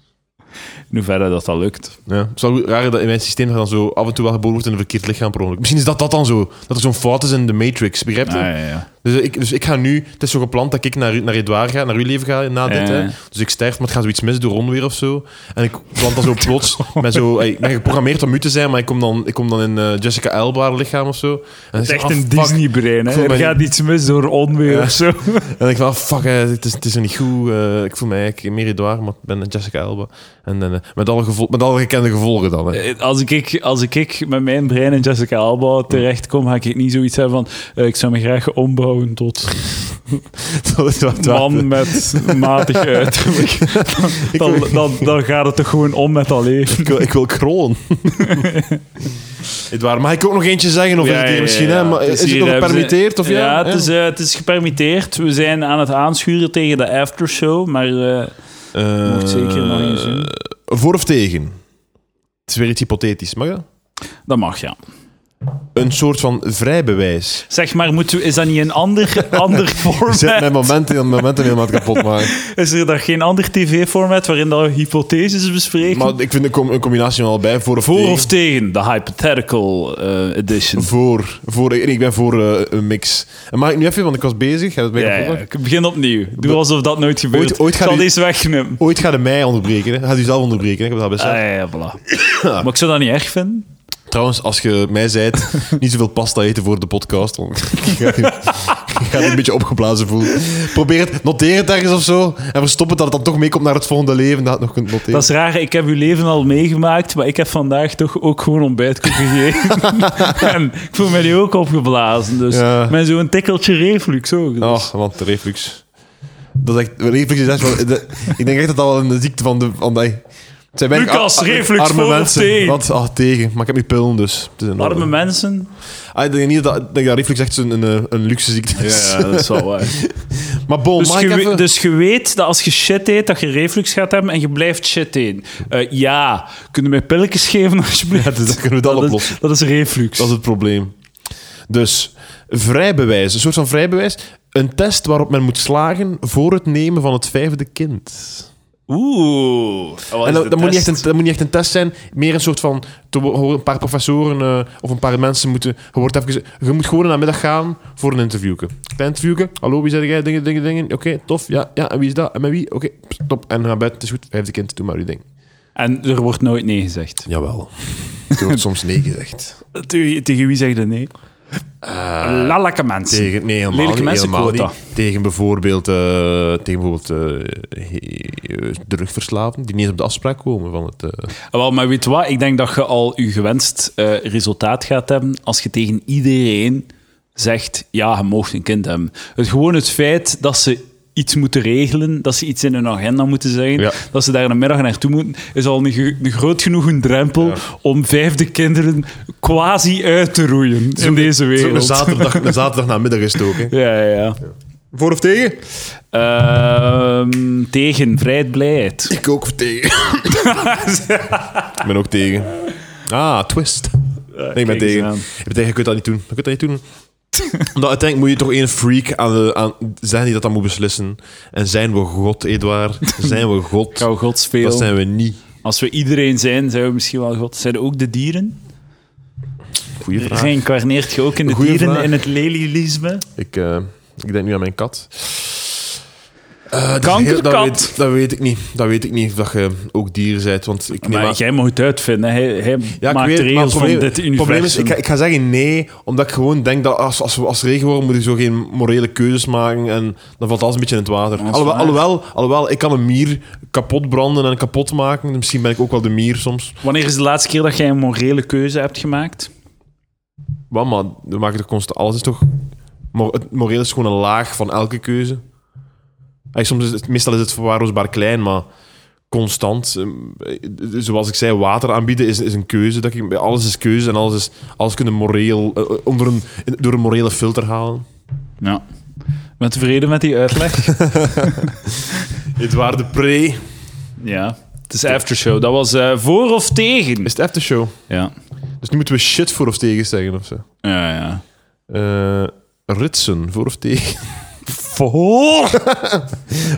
S1: In hoeverre dat dat lukt.
S2: Ja. Het is wel goed- raar dat in mijn systeem dat dan zo af en toe wel geboren wordt in een verkeerd lichaam per ongeluk. Misschien is dat dat dan zo. Dat er zo'n fout is in de Matrix. Begrijp je?
S1: Ah, ja, ja.
S2: Dus ik, dus ik ga nu, het is zo gepland dat ik naar, u- naar Edouard ga, naar uw leven ga na dit.
S1: Ja.
S2: Hè. Dus ik sterf, maar het gaat zoiets mis door onweer of zo. En ik plant dan zo plots. Met zo, ik ben geprogrammeerd om u te zijn, maar ik kom dan, ik kom dan in eh, Jessica Elba haar lichaam of zo. En
S1: Het is
S2: ik
S1: echt
S2: zeg,
S1: een
S2: ah, fuck.
S1: Disney-brein.
S2: Ik voel
S1: hè. Er
S2: mij-
S1: gaat iets mis door onweer
S2: Ja.
S1: of zo.
S2: En ik van, ah, fuck, hè, het, is, het is er niet goed. eh, ik voel mij eigenlijk meer Edouard, maar ik ben Jessica Elba. En eh, met, alle gevol- met alle gekende gevolgen dan. Hè.
S1: Eh, Als ik, als ik met mijn brein en Jessica Alba terechtkom, ga ik niet zoiets hebben van... eh, ik zou me graag ombouwen tot...
S2: Dat is wat waar.
S1: man met matig uiterlijk. Dan, dan, dan, dan gaat het toch gewoon om met dat leven.
S2: Ik wil, ik wil krollen. Edouard, mag ik ook nog eentje zeggen? Of is het hier misschien? hè? Maar,
S1: Het
S2: is het
S1: Dus hier-
S2: nog
S1: hebben ze-
S2: gepermitteerd? Of ja,
S1: Ja, het is, eh, het is gepermitteerd. We zijn aan het aanschuren tegen de aftershow, maar eh,
S2: Eh,
S1: Mocht zeker nog eens, hè.
S2: Voor of tegen? Het is weer iets hypothetisch, mag dat?
S1: dat mag, ja.
S2: Een soort van vrijbewijs.
S1: Zeg maar, moeten we, is dat niet een ander, ander
S2: Zet mijn
S1: format?
S2: momenten, momenten helemaal kapot maken.
S1: Is er dan geen ander tv-format waarin dat we hypotheses bespreken?
S2: Maar ik vind een, com- een combinatie van allebei. Voor of
S1: voor
S2: tegen.
S1: of tegen de hypothetical eh, edition?
S2: voor, voor. en Ik ben voor eh, een mix. En mag ik nu even, want ik was bezig. Heb het mij
S1: Ja, ja,
S2: kapot gemaakt?
S1: ik begin opnieuw. Doe alsof dat nooit gebeurd
S2: Ooit- ooit
S1: Ik
S2: gaat
S1: zal
S2: u-
S1: deze wegnemen.
S2: Ooit gaat het mij onderbreken. Hè? Gaat u zelf onderbreken. Hè? Ik heb dat best.
S1: Ah, ja, ja, voilà. Maar ik zou dat niet erg vinden.
S2: Trouwens, als je mij zijt, niet zoveel pasta eten voor de podcast. Want ik ga, ik ga me een beetje opgeblazen voelen. Probeer het, noteer het ergens of zo. En verstop het dat het dan toch meekomt naar het volgende leven. Dat je het nog kunt noteren.
S1: Dat is raar, ik heb uw leven al meegemaakt, maar ik heb vandaag toch ook gewoon ontbijtkoek gegeven. en ik voel mij nu ook opgeblazen, dus
S2: Ja.
S1: mijn zo'n tikkeltje reflux ook. Dus.
S2: Oh, want de reflux. Dat is echt... Reflux is echt wel... de- ik denk echt dat dat wel een ziekte van de... Van de het zijn weinig
S3: Lucas,
S2: ar- ar-
S3: reflux voor of tegen?
S2: Wat? Ah, tegen. Maar ik heb nu pillen, dus... Het is in orde.
S1: Arme mensen.
S2: Ah, ik denk niet dat, ik denk dat reflux echt zo'n een, eh, een luxe ziekte is.
S1: dat is wel waar.
S2: Maar bol,
S1: Dus
S2: mag
S1: je,
S2: ik
S1: we-
S2: even...
S1: dus je weet dat als je shit eet, dat je reflux gaat hebben en je blijft shit eten. Eh, ja, kunnen mij pilletjes geven alsjeblieft?
S2: Ja, dus dan kunnen we dat
S1: is-
S2: oplossen.
S1: Dat is reflux.
S2: Dat is het probleem. Dus, vrijbewijs. Een soort van vrijbewijs. Een test waarop men moet slagen voor het nemen van het vijfde kind.
S1: Oeh. wat
S2: En
S1: Oh, is
S2: dat,
S1: de
S2: dat moet niet
S1: test?
S2: echt een, dat moet niet echt een test zijn, meer een soort van. te wo- horen Een paar professoren eh, of een paar mensen moeten. Je, wordt even, je moet gewoon in de middag gaan voor een interview. Klein interview. Hallo, wie zeg jij? Dingen, dingen, dingen. Oké, tof. Ja, ja, en wie is dat? En met wie? Oké, pst, top. En ga naar buiten. Het is goed. Vijfde kind, doe maar uw ding.
S1: En er wordt nooit nee gezegd.
S2: Jawel. Er wordt soms nee gezegd.
S1: Tegen, tegen wie zeg je nee? Lelijke Eh, mensen.
S2: Tegen, nee, helemaal
S1: Lelijke
S2: niet.
S1: mensen
S2: Helemaal
S1: quota.
S2: niet. Tegen bijvoorbeeld, eh, tegen bijvoorbeeld eh, he- eh, drugverslaafden die niet eens op de afspraak komen van het. eh,
S1: Wel, maar weet je wat? Ik denk dat je al je gewenst eh, resultaat gaat hebben als je tegen iedereen zegt, ja, je mag een kind hebben. Het, gewoon het feit dat ze iets moeten regelen, dat ze iets in hun agenda moeten zeggen,
S2: Ja.
S1: dat ze daar een middag naartoe moeten, is al een, ge- een groot genoeg een drempel om vijfde kinderen quasi uit te roeien in deze
S2: het is ook
S1: wereld.
S2: Een zaterdag, een zaterdag namiddag is het ook, hè.
S1: Ja, ja, ja.
S2: Voor of tegen?
S1: Ehm, tegen vrijheid, blijheid.
S2: Ik ook tegen. ik ben ook tegen. Ah, twist. nee, ik ben
S1: kijk eens
S2: tegen.
S1: aan.
S2: Ik ben tegen, je kunt dat niet doen. Je kunt dat niet doen. Omdat uiteindelijk moet je toch één freak aan, de, aan zijn die dat dan moet beslissen. En zijn we God, Edouard? Zijn we God?
S1: Gauw gods
S2: dat
S1: veel.
S2: zijn we niet.
S1: Als we iedereen zijn, zijn we misschien wel God. Zijn er ook de dieren?
S2: Goeie vraag.
S1: Reïncarneert je ook in de
S2: Goeie
S1: dieren,
S2: vraag.
S1: in het lelilisme?
S2: Ik, eh, ik denk nu aan mijn kat. Eh, dat is
S1: Kankerkat.
S2: heel- Dat weet, dat weet ik niet. Dat weet ik niet. Of dat je ook dier bent. Want ik neem
S1: maar
S2: aan-
S1: jij mag het uitvinden. Hij, hij
S2: ik
S1: maakt
S2: weet het, maar
S1: regels
S2: het probleem-
S1: van dit
S2: Het probleem
S1: universum.
S2: is, ik, ga- ik ga zeggen nee, omdat ik gewoon denk dat als, als we als regen worden, moet je zo geen morele keuzes maken en dan valt alles een beetje in het water.
S1: is
S2: Alhoewel,
S1: waar.
S2: alhoewel, alhoewel, ik kan een mier kapot branden en kapot maken. Misschien ben ik ook wel de mier soms.
S1: Wanneer is de laatste keer dat jij een morele keuze hebt gemaakt?
S2: Wat, maar we maken toch constant alles is toch... mor- het moreel is gewoon een laag van elke keuze. Ey, soms is het, meestal is het verwaarloosbaar klein, maar constant. eh, Zoals ik zei, water aanbieden is, is een keuze. Dat ik, alles is keuze en alles, is, alles kunnen moreel, eh, eh, onder een, door een morele filter halen.
S1: Ja. Ben je tevreden met die uitleg?
S2: Het waren de pre.
S1: ja. Het is aftershow. Dat was eh, voor of tegen?
S2: Is het aftershow?
S1: Ja.
S2: Dus nu moeten we shit voor of tegen zeggen of zo.
S1: Ja, ja.
S2: Eh, ritsen, voor of tegen.
S1: Voor?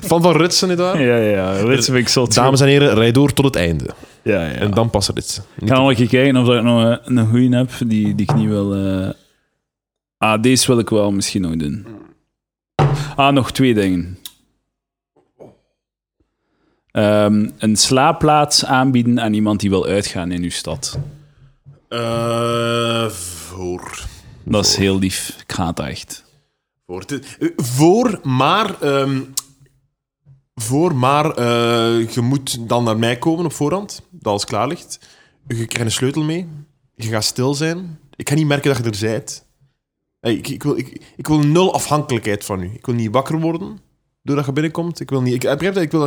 S2: Van van ritsen, nietwaar?
S1: Ja, ja. Dat vind ik zo
S2: Dames en heren, rij door tot het einde.
S1: Ja, ja.
S2: En dan pas ritsen.
S1: Ik ga nog een keer kijken of dat ik nog eh, een goeie heb die, die ik niet wil. eh. Ah, deze wil ik wel misschien nog doen. Ah, nog twee dingen. Ehm, een slaapplaats aanbieden aan iemand die wil uitgaan in uw stad.
S2: Eh, voor.
S1: Dat is heel lief. Ik ga het echt.
S2: Voor, het is- eh, voor maar. ehm, voor maar. eh, je moet dan naar mij komen op voorhand. Dat alles klaar ligt. Je krijgt een sleutel mee. Je gaat stil zijn. Ik ga niet merken dat je er zijt. Hey, ik, ik, wil, ik, ik wil nul afhankelijkheid van u. Ik wil niet wakker worden doordat je binnenkomt. Ik wil niet. Ik, ik begrijp dat ik wil.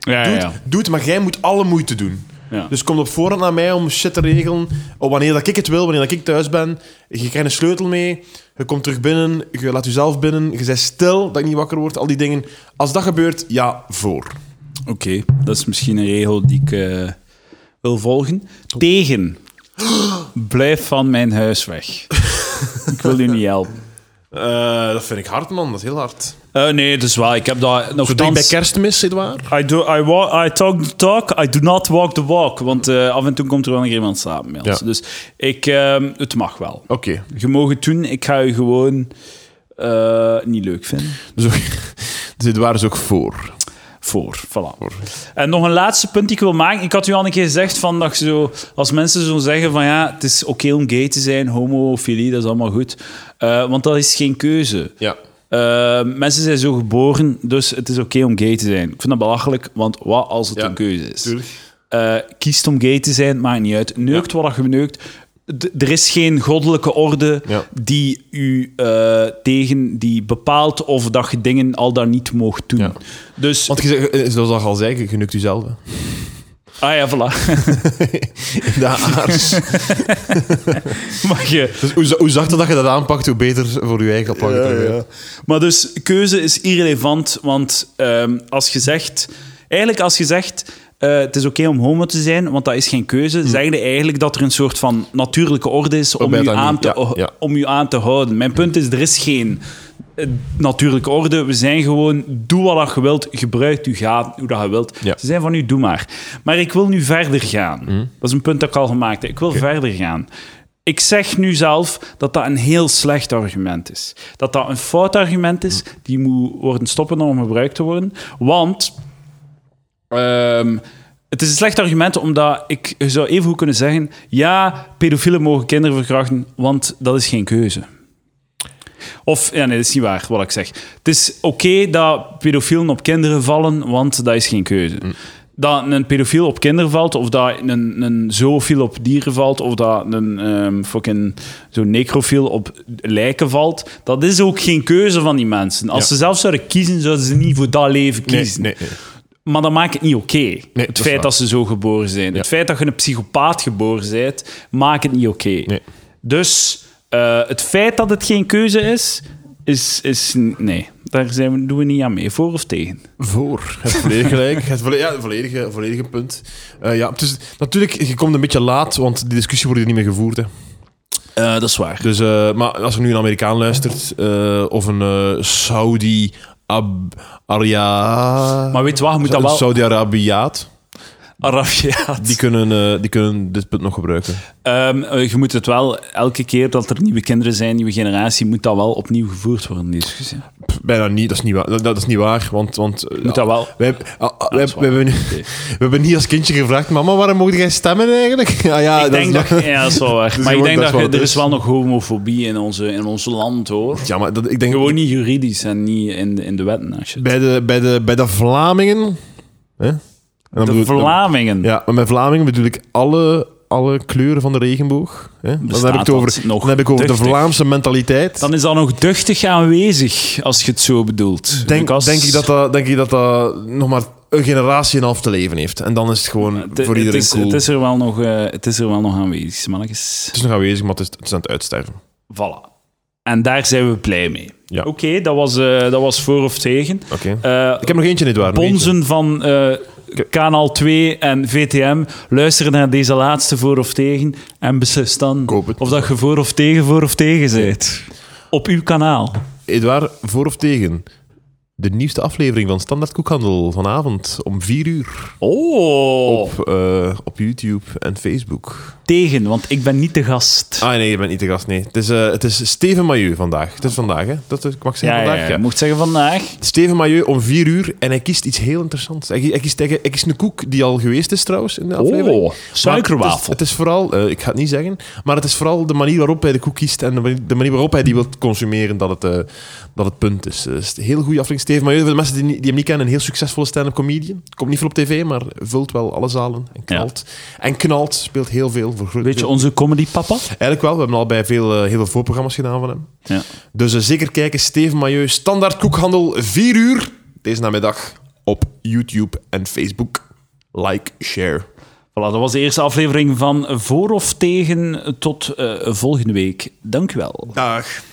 S1: Ja,
S2: Doe
S1: ja,
S2: het,
S1: ja.
S2: doe het, maar jij moet alle moeite doen.
S1: Ja.
S2: Dus kom op voorhand naar mij om shit te regelen. Op wanneer dat ik het wil, wanneer dat ik thuis ben. Je krijgt een sleutel mee. Je komt terug binnen. Je laat jezelf binnen. Je bent stil dat ik niet wakker word. Al die dingen. Als dat gebeurt, ja, voor.
S1: Oké, dat is misschien een regel die ik eh, wil volgen. Tegen. Blijf van mijn huis weg. ik wil u niet helpen.
S2: Eh, dat vind ik hard, man. Dat is heel hard.
S1: Eh, nee, dat is waar. Ik heb daar nog
S2: Zo dicht bij kerstmis, zit waar?
S1: I, do, I, walk, I talk the talk, I do not walk the walk. Want eh, af en toe komt er wel een keer iemand slapen. Niels.
S2: Ja.
S1: Dus ik, ehm, het mag wel.
S2: Oké.
S1: Je mag het doen, ik ga je gewoon eh, niet leuk vinden.
S2: Dus, ook- dus dit waar is ook voor.
S1: Voor, voilà. En nog een laatste punt die ik wil maken. Ik had u al een keer gezegd van dat je zo, als mensen zo zeggen van ja, het is oké om gay te zijn, homofilie, dat is allemaal goed. Eh, want dat is geen keuze.
S2: Ja.
S1: Eh, mensen zijn zo geboren, dus het is oké om gay te zijn. Ik vind dat belachelijk, want wat als het
S2: Ja,
S1: een keuze is?
S2: Tuurlijk.
S1: eh kiest om gay te zijn, maakt niet uit. Neukt wat je neukt. d- er is geen goddelijke orde
S2: Ja.
S1: die u eh, tegen, die bepaalt of dat je dingen al dan niet moogt doen.
S2: Ja.
S1: Dus,
S2: Want je zegt, eh, zoals dat al zei, je genukt jezelf. hè.
S1: ah ja, voilà.
S2: In de aars.
S1: maar, je,
S2: Dus hoe, za- hoe zachter dat je dat aanpakt, hoe beter voor je eigen aanpak.
S1: maar dus, keuze is irrelevant, want ehm, als je zegt, eigenlijk als je zegt, eh, het is oké om homo te zijn, want dat is geen keuze, zeg je eigenlijk dat er een soort van natuurlijke orde is om
S2: Hm. Waarbij
S1: je,
S2: dat
S1: aan
S2: niet-
S1: te,
S2: ja, ja.
S1: om je aan te houden. Mijn punt is, er is geen eh, natuurlijke orde. We zijn gewoon, doe wat je wilt, gebruik je gaat hoe dat je wilt.
S2: Ja.
S1: Ze zijn van u, doe maar. Maar ik wil nu verder gaan. Dat is een punt dat ik al gemaakt heb. Ik wil verder gaan. Ik zeg nu zelf dat dat een heel slecht argument is. Dat dat een fout argument is, die moet worden stoppen om gebruikt te worden. Want Ehm, het is een slecht argument, omdat ik zou even goed kunnen zeggen: ja, pedofielen mogen kinderen verkrachten, want dat is geen keuze. Of, ja, nee, dat is niet waar wat ik zeg. Het is oké dat pedofielen op kinderen vallen, want dat is geen keuze.
S2: Mm.
S1: Dat een pedofiel op kinderen valt, of dat een, een zoofiel op dieren valt, of dat een ehm fucking zo'n necrofiel op lijken valt, dat is ook geen keuze van die mensen. Als
S2: Ja.
S1: ze zelf zouden kiezen, zouden ze niet voor dat leven
S2: Nee,
S1: kiezen.
S2: nee, nee.
S1: Maar dat maakt het niet oké. het
S2: dat is
S1: feit
S2: waar.
S1: dat ze zo geboren zijn. Het feit dat je een psychopaat geboren bent, maakt het niet oké.
S2: Nee.
S1: Dus eh, het feit dat het geen keuze is, is... is nee, daar zijn we, doen we niet aan mee. Voor of tegen?
S2: Voor. Het volledig gelijk. Het volle- ja, volledige, volledige punt. Eh, ja, het is- natuurlijk, je komt een beetje laat, want die discussie wordt hier niet meer gevoerd. Hè.
S1: Eh, dat is waar.
S2: Dus, eh, maar als er nu een Amerikaan luistert, eh, of een eh, Saudi... Ab Aria...
S1: Maar weet je wat, je moet dat
S2: Een
S1: wel...
S2: Saudi-Arabiaat.
S1: Arabiaat.
S2: Die kunnen, eh, die kunnen dit punt nog gebruiken.
S1: Ehm, eh, je moet het wel, elke keer dat er nieuwe kinderen zijn, nieuwe generatie, moet dat wel opnieuw gevoerd worden, die discussie.
S2: Pff, bijna niet, dat is niet waar. Dat, dat is niet waar, want... want eh,
S1: Moet dat wel...
S2: Wij, hebben- ah, ah, wij,
S1: dat is
S2: wij hebben, nu-
S1: Oké.
S2: we hebben niet als kindje gevraagd... Mama, waarom mocht jij stemmen eigenlijk? Ja, ja,
S1: ik
S2: dat
S1: denk
S2: is
S1: dat,
S2: nog-
S1: ja, dat is wel waar.
S2: is
S1: maar ik
S2: gewoon-
S1: denk dat,
S2: dat is dus- wat
S1: je-
S2: het
S1: er
S2: is.
S1: is wel nog homofobie in, onze, in ons land, hoor.
S2: Ja, maar dat, ik denk...
S1: Gewoon niet juridisch en niet in de, in de wetten. Als je
S2: Bij de, bij de, bij de Vlamingen... Hè? En dan
S1: de
S2: bedoel-
S1: Vlamingen.
S2: Ja, maar met Vlamingen bedoel ik alle, alle kleuren van de regenboog. Hè? Dan,
S1: Bestaat
S2: heb ik het over,
S1: dat nog
S2: dan heb ik over
S1: duchtig?
S2: de Vlaamse mentaliteit.
S1: Dan is dat nog duchtig aanwezig, als je het zo bedoelt.
S2: denk,
S1: Lucas?
S2: denk, ik dat dat, denk ik dat dat nog maar een generatie en een half te leven heeft. En dan is het gewoon
S1: Het-
S2: voor iedereen
S1: het is,
S2: cool.
S1: Het is, er wel nog, eh, het is er wel nog aanwezig, mannetjes.
S2: nog aanwezig, maar het is, het is aan het uitsterven.
S1: Voilà. En daar zijn we blij mee.
S2: Ja.
S1: Oké, dat, was, eh, dat was voor of tegen.
S2: Oké.
S1: Eh,
S2: Ik heb nog eentje niet waar. nog eentje.
S1: bonzen van eh, Kanaal 2 en VTM, luister naar deze laatste voor of tegen en beslis dan
S2: Koop het.
S1: of dat je voor of tegen voor of tegen bent. Op uw kanaal.
S2: Edouard, voor of tegen? De nieuwste aflevering van Standaard Koekhandel vanavond om 4 uur
S1: Oh.
S2: op, eh, op YouTube en Facebook.
S1: tegen, want ik ben niet de gast.
S2: Ah nee, je bent niet de gast, nee. Het is, eh, het is Steven Mailleu vandaag. Het is vandaag, hè? Dat eh, ik mag zeggen vandaag. ja.
S1: mocht zeggen vandaag.
S2: Steven Mailleu om 4 uur en hij kiest iets heel interessants. Hij, hij, kiest, hij, hij kiest een koek die al geweest is trouwens in de aflevering.
S1: Oh,
S2: Maar Het is,
S1: suikerwafel.
S2: het is vooral, eh, ik ga het niet zeggen, maar het is vooral de manier waarop hij de koek kiest en de manier, de manier waarop hij die wil consumeren dat het, eh, dat het punt is. Eh, het is een heel goede aflevering, Steven. Maar voor de mensen die, niet- die hem niet kennen, een heel succesvolle stand-up comedian. Komt niet veel op tv, maar vult wel alle zalen en knalt. En knalt, speelt heel veel. Voor groot-
S1: Weet je, onze comedy papa.
S2: Eigenlijk wel, we hebben al bij veel, eh, heel veel voorprogramma's gedaan van hem.
S1: Ja.
S2: Dus eh, zeker kijken, Steven Mailleu, Standaard Koekhandel, 4 uur deze namiddag op YouTube en Facebook. Like, share.
S1: Voilà, dat was de eerste aflevering van Voor of Tegen. Tot eh, volgende week. Dank u wel.
S2: Dag.